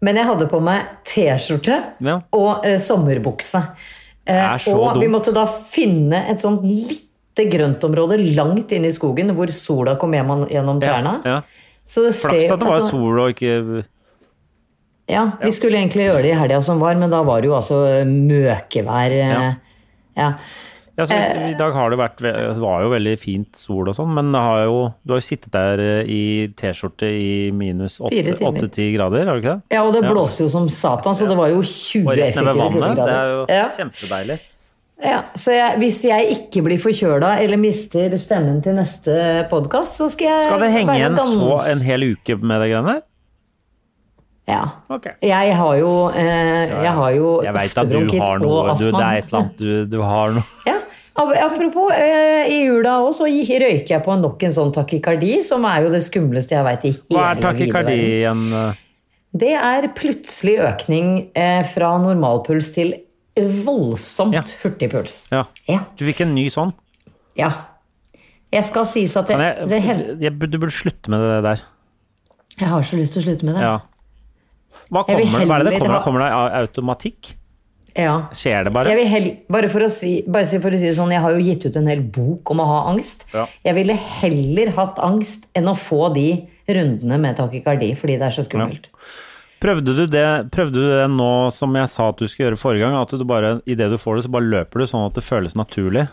[SPEAKER 1] Men jeg hadde på meg T-skjorte
[SPEAKER 2] Ja.
[SPEAKER 1] og eh, sommerbukse. Eh,
[SPEAKER 2] Det er så
[SPEAKER 1] og vi
[SPEAKER 2] dumt.
[SPEAKER 1] måtte da finne et sånt lite grøntområde langt inne i skogen hvor sola kom hjem gjennom trærne.
[SPEAKER 2] Ja.
[SPEAKER 1] Så det
[SPEAKER 2] Flaks
[SPEAKER 1] ser-
[SPEAKER 2] at det var
[SPEAKER 1] altså-
[SPEAKER 2] sol og ikke
[SPEAKER 1] Ja, vi skulle egentlig gjøre det i helga som var, men da var det jo altså møkevær. eh,
[SPEAKER 2] Ja.
[SPEAKER 1] ja.
[SPEAKER 2] ja, så
[SPEAKER 1] Eh.
[SPEAKER 2] i, I dag har det vært ve- Det var jo veldig fint sol og sånn, men det har jo, du har jo sittet der eh, i T-skjorte i minus
[SPEAKER 1] Fire timer.
[SPEAKER 2] 8-10 grader, har du ikke det?
[SPEAKER 1] Ja, og det blåste jo som satan, så det var jo 20
[SPEAKER 2] Og rett ned ved
[SPEAKER 1] effektive
[SPEAKER 2] vannet. Det er
[SPEAKER 1] kuldegrader.
[SPEAKER 2] jo
[SPEAKER 1] Ja,
[SPEAKER 2] kjempedeilig.
[SPEAKER 1] ja. Så jeg, hvis jeg ikke blir forkjøla eller mister stemmen til neste podkast, så skal jeg
[SPEAKER 2] Skal det henge
[SPEAKER 1] Eh, være
[SPEAKER 2] igjen
[SPEAKER 1] gans-
[SPEAKER 2] så en hel uke med det greiene der?
[SPEAKER 1] Ja.
[SPEAKER 2] Ok.
[SPEAKER 1] Jeg har jo, eh, jeg har jo
[SPEAKER 2] Jeg veit at du
[SPEAKER 1] hoftebronkitt og
[SPEAKER 2] har noe. Du, det
[SPEAKER 1] astma.
[SPEAKER 2] er et eller annet du, du har noe.
[SPEAKER 1] Ja. Ap- Apropos, eh, i jula òg så gi- røyker jeg på nok en sånn takykardi, som er jo det skumleste jeg veit i hele
[SPEAKER 2] Hva er
[SPEAKER 1] vide
[SPEAKER 2] takykardi
[SPEAKER 1] verden.
[SPEAKER 2] igjen?
[SPEAKER 1] Det er plutselig økning eh, fra normalpuls til voldsomt
[SPEAKER 2] Ja.
[SPEAKER 1] hurtig puls.
[SPEAKER 2] Ja.
[SPEAKER 1] Ja.
[SPEAKER 2] Du fikk en ny sånn.
[SPEAKER 1] ja. Jeg skal sies at det,
[SPEAKER 2] Men
[SPEAKER 1] det
[SPEAKER 2] jeg,
[SPEAKER 1] hender
[SPEAKER 2] jeg, burde- du burde slutte med det der.
[SPEAKER 1] Jeg har så lyst til å slutte med det.
[SPEAKER 2] Ja. Hva,
[SPEAKER 1] Jeg vil
[SPEAKER 2] kommer, hva er det det
[SPEAKER 1] heller
[SPEAKER 2] kommer
[SPEAKER 1] ha-
[SPEAKER 2] av? Kommer det av automatikk?
[SPEAKER 1] Ja.
[SPEAKER 2] Skjer det
[SPEAKER 1] Jeg
[SPEAKER 2] bare?
[SPEAKER 1] vil hell, bare, for å si, bare si- for å si det sånn, jeg har jo gitt ut en hel bok om å ha angst.
[SPEAKER 2] Ja.
[SPEAKER 1] Jeg ville heller hatt angst enn å få de rundene med takykardi, fordi det er så skummelt.
[SPEAKER 2] Prøvde du, det, prøvde du det nå som jeg sa at du skulle gjøre forrige gang? At du bare, idet du får det, så bare løper du sånn at det føles naturlig?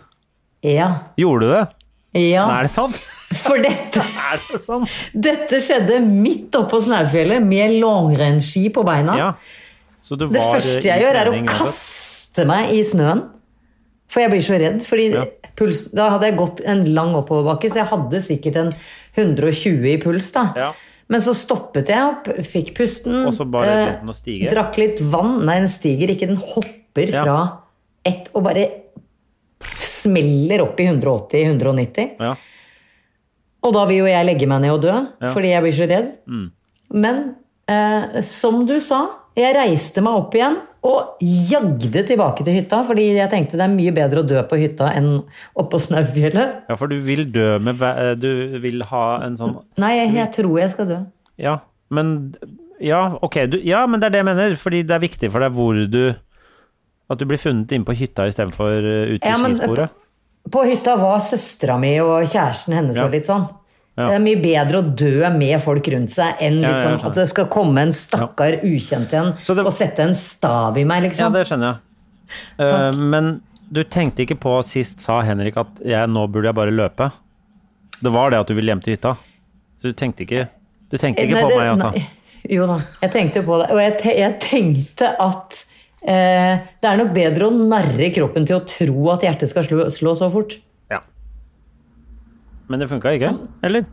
[SPEAKER 1] Ja.
[SPEAKER 2] Gjorde du det?
[SPEAKER 1] ja.
[SPEAKER 2] Nei, er det sant?
[SPEAKER 1] For dette,
[SPEAKER 2] Er det sant?
[SPEAKER 1] dette skjedde midt oppå Snaufjellet med langrennsski på beina.
[SPEAKER 2] Ja. Så du
[SPEAKER 1] Det
[SPEAKER 2] var
[SPEAKER 1] første
[SPEAKER 2] i
[SPEAKER 1] jeg gjør, er å
[SPEAKER 2] trening uansett.
[SPEAKER 1] kaste meg i snøen. For jeg blir så redd. Fordi
[SPEAKER 2] Ja.
[SPEAKER 1] puls, da hadde jeg gått en lang oppoverbakke, så jeg hadde sikkert en 120 i puls. da.
[SPEAKER 2] Ja.
[SPEAKER 1] Men så stoppet jeg opp, fikk pusten,
[SPEAKER 2] Og så bare
[SPEAKER 1] Eh,
[SPEAKER 2] lot den å stige.
[SPEAKER 1] drakk litt vann. Nei, den stiger ikke, den hopper
[SPEAKER 2] Ja.
[SPEAKER 1] fra ett og bare smeller opp i 180-190.
[SPEAKER 2] Ja.
[SPEAKER 1] Og da vil jo jeg legge meg ned og dø,
[SPEAKER 2] Ja. Mm.
[SPEAKER 1] fordi jeg blir så redd. Men eh, som du sa, jeg reiste meg opp igjen og jagde tilbake til hytta, fordi jeg tenkte det er mye bedre å dø på hytta enn oppå Snaufjellet.
[SPEAKER 2] Ja, for du vil dø med væ- Du vil ha en sånn
[SPEAKER 1] Nei, jeg, jeg tror jeg skal dø.
[SPEAKER 2] Ja, men Ja, ok. Du, ja, men det er det jeg mener. Fordi det er viktig for deg hvor du At du blir funnet inne på hytta istedenfor uh, ute i
[SPEAKER 1] Ja, men- eh,
[SPEAKER 2] skisporet.
[SPEAKER 1] På hytta var søstera mi og kjæresten hennes
[SPEAKER 2] Ja.
[SPEAKER 1] og litt sånn.
[SPEAKER 2] Ja.
[SPEAKER 1] Det er mye bedre å dø med folk rundt seg enn
[SPEAKER 2] Ja, ja,
[SPEAKER 1] liksom,
[SPEAKER 2] jeg skjønner.
[SPEAKER 1] at det skal komme en stakkar ukjent en
[SPEAKER 2] Så det-
[SPEAKER 1] og sette en stav i meg,
[SPEAKER 2] Ja,
[SPEAKER 1] liksom.
[SPEAKER 2] det skjønner jeg. Uh, men du tenkte ikke på sist, sa Henrik, at jeg, nå burde jeg bare løpe. Det var det at du ville hjem til hytta. Så du tenkte ikke Du tenkte ikke
[SPEAKER 1] Nei,
[SPEAKER 2] på
[SPEAKER 1] det-
[SPEAKER 2] meg, altså.
[SPEAKER 1] nei. Jo da, jeg tenkte på det. Og jeg, te jeg tenkte at eh, det er nok bedre å narre kroppen til å tro at hjertet skal slå, slå så fort.
[SPEAKER 2] Ja. Men det funka ikke? Eller?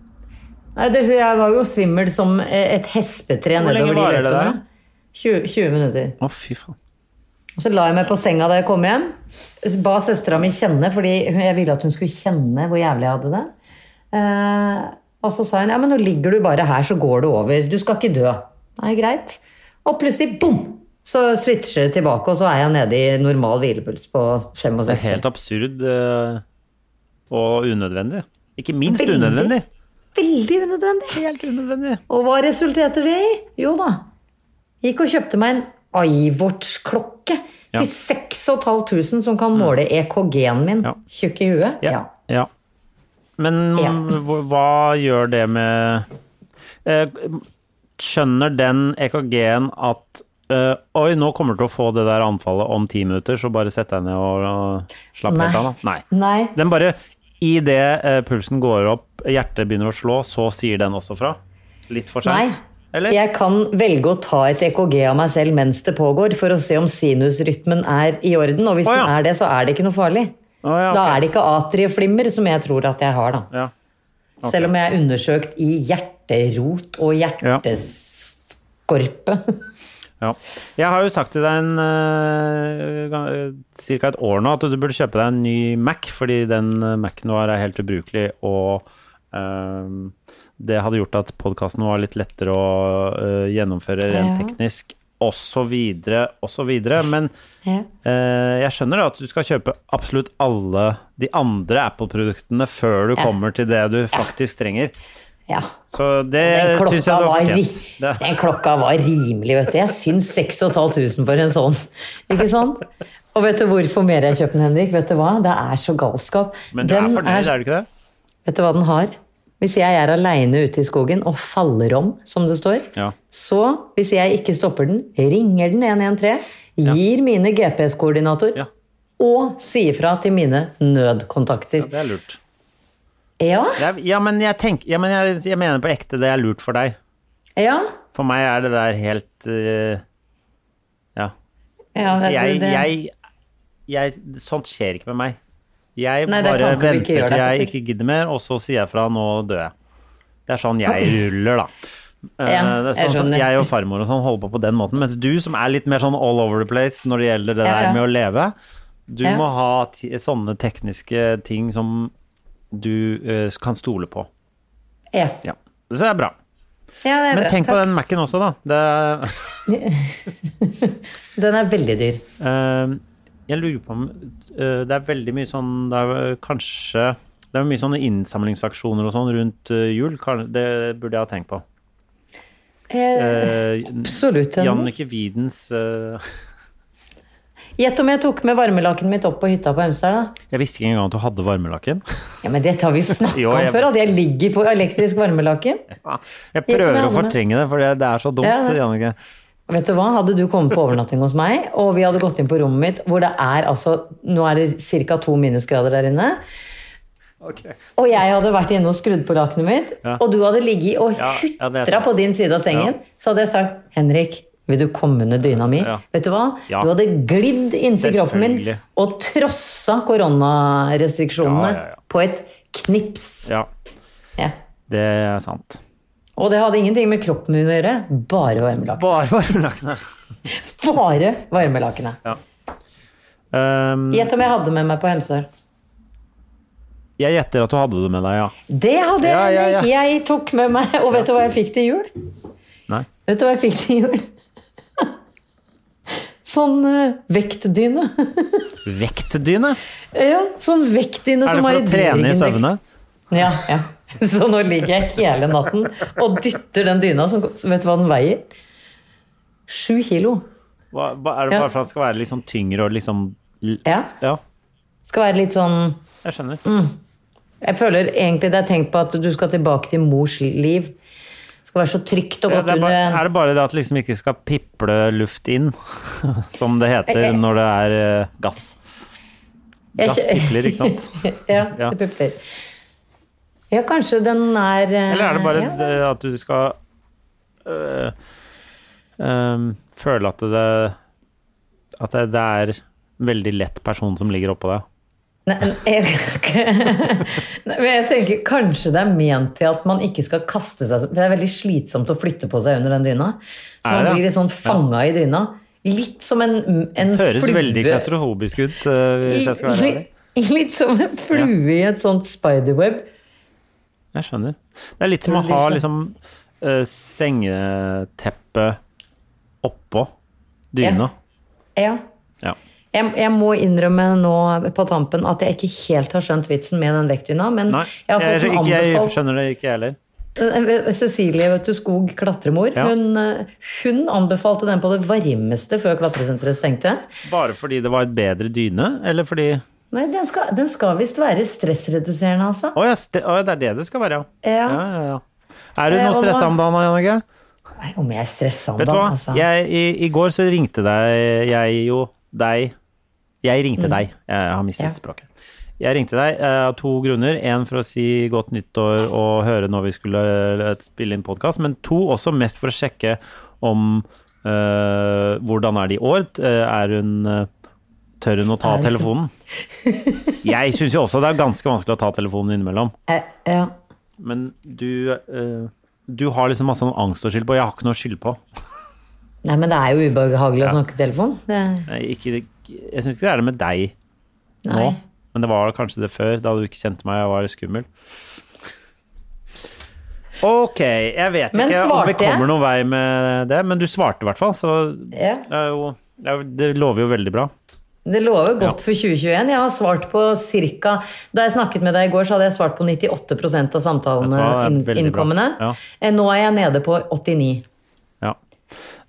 [SPEAKER 1] Nei, det, jeg var jo svimmel som eh, et hespetre
[SPEAKER 2] Hvor lenge
[SPEAKER 1] nedover de
[SPEAKER 2] varer det
[SPEAKER 1] løpene.
[SPEAKER 2] der?
[SPEAKER 1] 20, 20 minutter.
[SPEAKER 2] Å, fy faen.
[SPEAKER 1] Og så la jeg meg på senga da jeg kom hjem. Ba søstera mi kjenne, fordi jeg ville at hun skulle kjenne hvor jævlig jeg hadde det. Eh, og så sa hun ja, men nå ligger du bare her, så går det over. Du skal ikke dø. Nei, greit. Og plutselig, bom! Så switcher det tilbake, og så er jeg nede i normal hvilepuls på
[SPEAKER 2] Det er
[SPEAKER 1] 65.
[SPEAKER 2] helt absurd eh, og unødvendig. Ikke minst
[SPEAKER 1] Veldig.
[SPEAKER 2] unødvendig.
[SPEAKER 1] Veldig unødvendig.
[SPEAKER 2] Helt unødvendig.
[SPEAKER 1] Og hva resulterte det i? Jo da. Gikk og kjøpte meg en iWatch-klokke
[SPEAKER 2] Ja.
[SPEAKER 1] til 6500 som kan måle EKG-en min.
[SPEAKER 2] Ja.
[SPEAKER 1] Tjukk i huet.
[SPEAKER 2] Ja. ja. Men
[SPEAKER 1] Ja.
[SPEAKER 2] hva- hva gjør det med eh, Skjønner den EKG-en at eh, Oi, nå kommer du til å få det der anfallet om ti minutter, så bare sett deg ned og, og slapp
[SPEAKER 1] Nei.
[SPEAKER 2] helt av, da. Nei.
[SPEAKER 1] Nei.
[SPEAKER 2] Den bare Idet uh, pulsen går opp, hjertet begynner å slå, så sier den også fra? Litt for
[SPEAKER 1] Nei.
[SPEAKER 2] seint? Eller?
[SPEAKER 1] Jeg kan velge å ta et EKG av meg selv mens det pågår, for å se om sinusrytmen er i orden. Og hvis
[SPEAKER 2] Å, ja.
[SPEAKER 1] den er det, så er det ikke noe farlig.
[SPEAKER 2] Å, ja,
[SPEAKER 1] Da
[SPEAKER 2] ok.
[SPEAKER 1] er det ikke atrieflimmer, som jeg tror at jeg har, da.
[SPEAKER 2] Ja. Ok.
[SPEAKER 1] Selv om jeg er undersøkt i hjerterot og hjerteskorpe.
[SPEAKER 2] Ja. Jeg har jo sagt til deg en eh, ga- eh, cirka et år nå at du burde kjøpe deg en ny Mac, fordi den eh, Mac-en du har er helt ubrukelig, og ehm, det hadde gjort at podkasten var litt lettere å eh, gjennomføre rent
[SPEAKER 1] Ja.
[SPEAKER 2] teknisk, og så videre, og så videre. Men
[SPEAKER 1] Ja.
[SPEAKER 2] eh, jeg skjønner at du skal kjøpe absolutt alle de andre Apple-produktene før du
[SPEAKER 1] Ja.
[SPEAKER 2] kommer til det du faktisk trenger.
[SPEAKER 1] ja.
[SPEAKER 2] Så det
[SPEAKER 1] Den
[SPEAKER 2] syns
[SPEAKER 1] klokka,
[SPEAKER 2] jeg du har
[SPEAKER 1] var ri
[SPEAKER 2] fortjent. Det-
[SPEAKER 1] den klokka var rimelig, vet du. Jeg syns 6500 for en sånn. Ikke sant? Og vet du hvorfor mer jeg kjøper den, Henrik? Vet du hva? Det er så galskap.
[SPEAKER 2] Men du
[SPEAKER 1] Den
[SPEAKER 2] er fornøyd, er du ikke det?
[SPEAKER 1] Vet du hva den har? Hvis jeg er aleine ute i skogen og faller om, som det står,
[SPEAKER 2] Ja.
[SPEAKER 1] så, hvis jeg ikke stopper den, ringer den 113, gir mine GPS-koordinator
[SPEAKER 2] Ja.
[SPEAKER 1] og sier fra til mine nødkontakter.
[SPEAKER 2] Det er lurt.
[SPEAKER 1] Ja,
[SPEAKER 2] Det er, ja, men, jeg, tenk, ja, men jeg, jeg mener på ekte det er lurt for deg.
[SPEAKER 1] ja.
[SPEAKER 2] For meg er det der helt eh, Ja.
[SPEAKER 1] ja det,
[SPEAKER 2] Jeg,
[SPEAKER 1] det-
[SPEAKER 2] jeg, jeg Sånt skjer ikke med meg. Jeg
[SPEAKER 1] Nei, det er
[SPEAKER 2] bare
[SPEAKER 1] tanker du
[SPEAKER 2] venter
[SPEAKER 1] ikke
[SPEAKER 2] til
[SPEAKER 1] gjør deg,
[SPEAKER 2] jeg
[SPEAKER 1] Petter.
[SPEAKER 2] ikke gidder mer, og så sier jeg fra nå dør jeg. Det er sånn jeg ruller, da. Eh,
[SPEAKER 1] Ja,
[SPEAKER 2] det er
[SPEAKER 1] jeg
[SPEAKER 2] sånn, som
[SPEAKER 1] skjønner.
[SPEAKER 2] jeg og farmor og sånn holder på på den måten. Mens du, som er litt mer sånn all over the place når det gjelder det
[SPEAKER 1] Ja,
[SPEAKER 2] der
[SPEAKER 1] ja.
[SPEAKER 2] med å leve, du
[SPEAKER 1] Ja.
[SPEAKER 2] må ha ti- sånne tekniske ting som du eh, kan stole på.
[SPEAKER 1] ja.
[SPEAKER 2] Ja. Så det er bra.
[SPEAKER 1] ja, det er
[SPEAKER 2] Men
[SPEAKER 1] bra.
[SPEAKER 2] tenk på
[SPEAKER 1] Takk.
[SPEAKER 2] den Mac-en også, da. Det,
[SPEAKER 1] Den er veldig dyr.
[SPEAKER 2] eh, jeg lurer på om eh, Det er veldig mye sånn Det er vel kanskje Det er mye sånne innsamlingsaksjoner og sånn rundt eh, jul. Kan- Det burde jeg ha tenkt på.
[SPEAKER 1] Eh,
[SPEAKER 2] Eh,
[SPEAKER 1] absolutt. Henrik.
[SPEAKER 2] Jannicke Widens eh,
[SPEAKER 1] Gjett om jeg tok med varmelakenet mitt opp på hytta på Hemsedal, da.
[SPEAKER 2] Jeg visste ikke engang at du hadde varmelaken.
[SPEAKER 1] Ja, men dette har vi jo snakka
[SPEAKER 2] Jo,
[SPEAKER 1] om
[SPEAKER 2] jeg-
[SPEAKER 1] før, at jeg ligger på elektrisk varmelaken.
[SPEAKER 2] Jeg
[SPEAKER 1] Gjett om jeg
[SPEAKER 2] prøver å
[SPEAKER 1] hadde med-
[SPEAKER 2] fortrenge det, for det det er så dumt,
[SPEAKER 1] Ah. Ja, ja.
[SPEAKER 2] Jannicke.
[SPEAKER 1] Vet du hva, Hadde du kommet på overnatting hos meg, og vi hadde gått inn på rommet mitt hvor det er altså, Nå er det ca. to minusgrader der inne. Og jeg hadde vært inne og skrudd på lakenet mitt, og du hadde ligget og
[SPEAKER 2] Ja, ja, det er
[SPEAKER 1] hutra
[SPEAKER 2] sant.
[SPEAKER 1] på din side av sengen,
[SPEAKER 2] Ja.
[SPEAKER 1] så hadde jeg sagt 'Henrik, vil du komme under dyna mi?'
[SPEAKER 2] Ja.
[SPEAKER 1] Vet du hva?
[SPEAKER 2] Ja.
[SPEAKER 1] Du hadde glidd inntil kroppen min
[SPEAKER 2] Selvfølgelig.
[SPEAKER 1] og trossa koronarestriksjonene
[SPEAKER 2] Ja, ja, ja.
[SPEAKER 1] på et knips.
[SPEAKER 2] Ja,
[SPEAKER 1] Ja.
[SPEAKER 2] det er sant.
[SPEAKER 1] Og det hadde ingenting med kroppen min å gjøre, bare varmelaken.
[SPEAKER 2] Bare varmelakenet.
[SPEAKER 1] Bare varmelakenet.
[SPEAKER 2] Um,
[SPEAKER 1] Gjett om jeg hadde med meg på Hemsedal.
[SPEAKER 2] jeg gjetter at du hadde det med deg, ja.
[SPEAKER 1] Det hadde
[SPEAKER 2] Ja,
[SPEAKER 1] jeg.
[SPEAKER 2] ja, ja.
[SPEAKER 1] Jeg tok med meg Og vet du hva jeg fikk til jul?
[SPEAKER 2] Nei.
[SPEAKER 1] Vet du hva jeg fikk til jul? Sånn eh, vektdyne.
[SPEAKER 2] Vektdyne?
[SPEAKER 1] ja, sånn vektdyne
[SPEAKER 2] Er det
[SPEAKER 1] som
[SPEAKER 2] for
[SPEAKER 1] har
[SPEAKER 2] å
[SPEAKER 1] et
[SPEAKER 2] trene i
[SPEAKER 1] dyringdekk.
[SPEAKER 2] søvne?
[SPEAKER 1] Ja, ja. Så nå ligger jeg hele natten og dytter den dyna, som så vet du hva den veier? Sju kilo.
[SPEAKER 2] Hva, hva- er det
[SPEAKER 1] Ja.
[SPEAKER 2] bare for at den skal være litt sånn tyngre og liksom l-
[SPEAKER 1] Ja.
[SPEAKER 2] ja,
[SPEAKER 1] Skal være litt sånn
[SPEAKER 2] jeg skjønner.
[SPEAKER 1] Jeg føler egentlig det er tenkt på at du skal tilbake til mors liv. Det skal være så trygt og
[SPEAKER 2] Ja,
[SPEAKER 1] godt
[SPEAKER 2] det er, bare,
[SPEAKER 1] under
[SPEAKER 2] er det bare det at liksom ikke skal piple luft inn, som det heter når det er eh, gass?
[SPEAKER 1] Jeg
[SPEAKER 2] Gass
[SPEAKER 1] kjø-
[SPEAKER 2] pipler, ikke sant?
[SPEAKER 1] Ja,
[SPEAKER 2] Ja.
[SPEAKER 1] det pupper. Ja, kanskje den er eh,
[SPEAKER 2] Eller er det bare
[SPEAKER 1] ja.
[SPEAKER 2] det at du skal øh, øhm, ehm, føle at det At det, det er en veldig lett person som ligger oppå deg?
[SPEAKER 1] Nei, jeg, Nei, men jeg tenker kanskje det er ment til at man ikke skal kaste seg For det er veldig slitsomt å flytte på seg under den dyna. Så
[SPEAKER 2] Er det
[SPEAKER 1] man
[SPEAKER 2] det?
[SPEAKER 1] blir litt sånn fanga i dyna. Litt som en, en
[SPEAKER 2] Høres
[SPEAKER 1] flue
[SPEAKER 2] veldig klaustrofobisk ut, øh, hvis jeg skal være ærlig.
[SPEAKER 1] Litt- Litt som en flue i et sånt spiderweb.
[SPEAKER 2] Jeg skjønner. Det er litt som å
[SPEAKER 1] Tror du
[SPEAKER 2] ha
[SPEAKER 1] det
[SPEAKER 2] liksom eh, sengeteppet oppå dyna.
[SPEAKER 1] Ja.
[SPEAKER 2] Ja.
[SPEAKER 1] Jeg, jeg må innrømme nå på tampen at jeg ikke helt har skjønt vitsen med den vektdyna, men
[SPEAKER 2] Nei,
[SPEAKER 1] jeg har
[SPEAKER 2] jeg,
[SPEAKER 1] fått den
[SPEAKER 2] ikke, jeg
[SPEAKER 1] anbefalt.
[SPEAKER 2] skjønner det ikke, jeg heller.
[SPEAKER 1] Eh, Cecilie vet du, Skog klatremor,
[SPEAKER 2] Ja.
[SPEAKER 1] hun, eh, hun anbefalte den på det varmeste før klatresenteret stengte.
[SPEAKER 2] Bare fordi det var et bedre dyne, eller fordi Å
[SPEAKER 1] Nei, den skal, den skal visst være stressreduserende, altså.
[SPEAKER 2] ja, ste- å ja, det er det det skal være, ja.
[SPEAKER 1] Ja.
[SPEAKER 2] ja, ja, ja. Er du
[SPEAKER 1] Eh,
[SPEAKER 2] noe
[SPEAKER 1] og
[SPEAKER 2] stressa
[SPEAKER 1] nå-
[SPEAKER 2] om dagen, Jannicke?
[SPEAKER 1] Nei, om jeg er stressa om
[SPEAKER 2] Vet du
[SPEAKER 1] dagen,
[SPEAKER 2] hva?
[SPEAKER 1] altså.
[SPEAKER 2] Jeg, i, I går så ringte deg jeg jo deg Jeg ringte deg. Jeg har mistet
[SPEAKER 1] Ja.
[SPEAKER 2] språket. Jeg ringte deg eh, av to grunner. Én for å si godt nyttår og høre når vi skulle eh, spille inn podkast, men to også mest for å sjekke om eh, hvordan er det i år. Eh, Er hun eh, Tør hun å ta telefonen? Jeg syns jo også det er ganske vanskelig å ta telefonen innimellom.
[SPEAKER 1] Eh, ja.
[SPEAKER 2] Men du eh, Du har liksom masse sånn angst å skylde på. Jeg har ikke noe å skylde på.
[SPEAKER 1] Nei, men det er jo ubehagelig å snakke i telefon. Det,
[SPEAKER 2] Nei, Eh, Ikke, jeg syns ikke det er det med deg nå,
[SPEAKER 1] nei.
[SPEAKER 2] men det var kanskje det før, da du ikke kjente meg og var skummel. Ok, jeg vet
[SPEAKER 1] Men
[SPEAKER 2] ikke om vi
[SPEAKER 1] svarte jeg?
[SPEAKER 2] kommer noen vei med det, men du svarte i hvert fall, så det,
[SPEAKER 1] Ja.
[SPEAKER 2] er jo, det er jo- det lover jo veldig bra.
[SPEAKER 1] Det lover godt for 2021. Jeg har svart på ca. Da jeg snakket med deg i går, så hadde jeg svart på 98 av samtalene
[SPEAKER 2] Vet du hva, det er
[SPEAKER 1] inn,
[SPEAKER 2] veldig bra.
[SPEAKER 1] innkommende.
[SPEAKER 2] Ja.
[SPEAKER 1] Eh, Nå er jeg nede på 89.
[SPEAKER 2] Ja.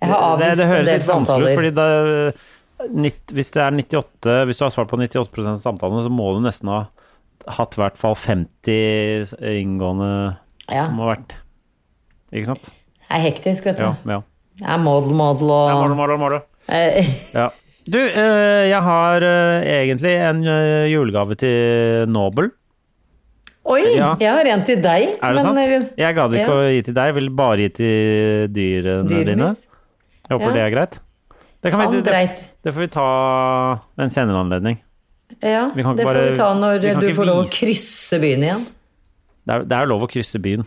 [SPEAKER 1] Jeg har
[SPEAKER 2] det,
[SPEAKER 1] avvist
[SPEAKER 2] det
[SPEAKER 1] en
[SPEAKER 2] høres
[SPEAKER 1] del
[SPEAKER 2] litt vanskelig
[SPEAKER 1] samtaler.
[SPEAKER 2] ut, fordi da, nitt- hvis, det er 98, hvis du har svart på 98 av samtalene, så må du nesten ha hatt i hvert fall 50 inngående
[SPEAKER 1] Ja.
[SPEAKER 2] må ha vært. Ikke sant?
[SPEAKER 1] Jeg er hektisk, vet du.
[SPEAKER 2] Ja. ja.
[SPEAKER 1] Jeg er model, model og
[SPEAKER 2] Morgen, morgen, morgen.
[SPEAKER 1] Eh,
[SPEAKER 2] Ja. Du, eh, jeg har eh, egentlig en eh, julegave til Nobel.
[SPEAKER 1] Oi,
[SPEAKER 2] Ja.
[SPEAKER 1] jeg har en til deg. eh,
[SPEAKER 2] Er det sant? Jeg gadd ikke
[SPEAKER 1] ja.
[SPEAKER 2] å gi til deg, jeg vil bare gi til dyrene
[SPEAKER 1] Dyret
[SPEAKER 2] dine.
[SPEAKER 1] mitt.
[SPEAKER 2] Jeg håper
[SPEAKER 1] Ja.
[SPEAKER 2] det er greit. Det, kan
[SPEAKER 1] Han
[SPEAKER 2] vi, det,
[SPEAKER 1] dreit.
[SPEAKER 2] det får vi ta ved en senere anledning.
[SPEAKER 1] Ja,
[SPEAKER 2] Vi kan ikke
[SPEAKER 1] det får
[SPEAKER 2] bare-
[SPEAKER 1] vi ta når
[SPEAKER 2] vi kan
[SPEAKER 1] du
[SPEAKER 2] ikke
[SPEAKER 1] får lov å
[SPEAKER 2] vise-
[SPEAKER 1] krysse byen igjen.
[SPEAKER 2] Det er, det er lov å krysse byen.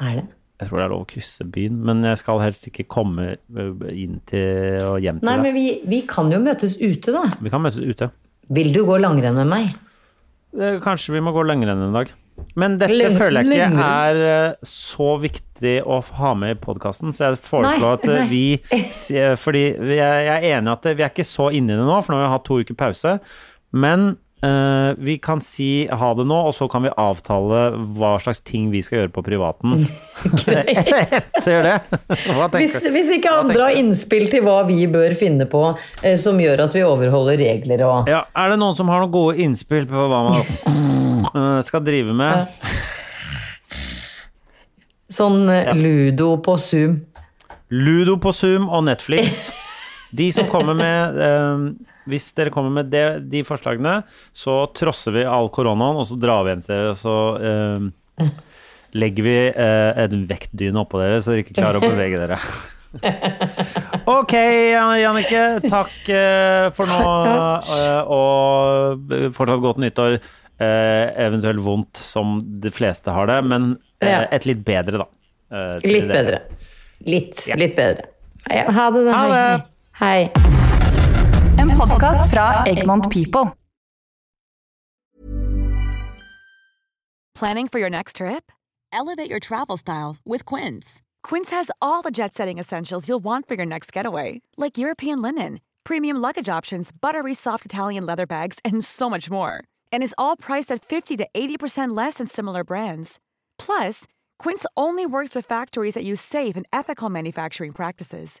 [SPEAKER 1] Er det?
[SPEAKER 2] Jeg tror det er lov å krysse byen, men jeg skal helst ikke komme eh, inn til og hjem til
[SPEAKER 1] Nei,
[SPEAKER 2] deg.
[SPEAKER 1] men vi, vi kan jo møtes ute, da.
[SPEAKER 2] Vi kan møtes ute.
[SPEAKER 1] Vil du gå langrenn med meg?
[SPEAKER 2] Eh, Kanskje vi må gå langrenn en dag. Men dette
[SPEAKER 1] Lang-
[SPEAKER 2] føler jeg ikke
[SPEAKER 1] langrenn?
[SPEAKER 2] er eh, så viktig å f- ha med i podkasten, så jeg foreslår
[SPEAKER 1] Nei,
[SPEAKER 2] at eh,
[SPEAKER 1] nei.
[SPEAKER 2] vi s- eh, Fordi vi er- jeg er enig i at eh, vi er ikke så inne i det nå, for nå har vi hatt to uker pause. Men eh, vi kan si ha det nå, og så kan vi avtale hva slags ting vi skal gjøre på privaten. så gjør det. Hva
[SPEAKER 1] Hvis,
[SPEAKER 2] tenker du?
[SPEAKER 1] hvis ikke
[SPEAKER 2] Hva
[SPEAKER 1] andre har innspill til hva vi bør finne på eh, som gjør at vi overholder regler og
[SPEAKER 2] Ja, er det noen som har noen gode innspill på hva man eh, skal drive med?
[SPEAKER 1] sånn eh, ludo på Zoom.
[SPEAKER 2] Ludo på Zoom og Netflix. De som kommer med eh, Hvis dere kommer med det, de forslagene, så trosser vi all koronaen, og så drar vi hjem til dere, og så eh, legger vi eh, en vektdyne oppå dere, så dere ikke klarer å bevege dere. Ok, Jan- Jannicke. Takk eh, for nå, eh, og fortsatt godt nyttår. Eh, eventuelt vondt, som de fleste har det, men eh,
[SPEAKER 1] Ja.
[SPEAKER 2] et litt bedre, da. eh, til
[SPEAKER 1] Litt
[SPEAKER 2] dere.
[SPEAKER 1] bedre. Litt, litt bedre. Ja, ha det, da.
[SPEAKER 2] Ha
[SPEAKER 1] Hei,
[SPEAKER 2] det.
[SPEAKER 1] Hei. Hei.
[SPEAKER 3] En podkast fra Egmont People.
[SPEAKER 4] Planning for your next trip? Elevate your travel style with Quince. Quince has all the jet setting essentials you'll want for your next getaway, like European linen, premium luggage options, buttery soft Italian leather bags, and so much more. And is all priced at 50 to 80% less than similar brands. Plus, Quince only works with factories that use safe and ethical manufacturing practices.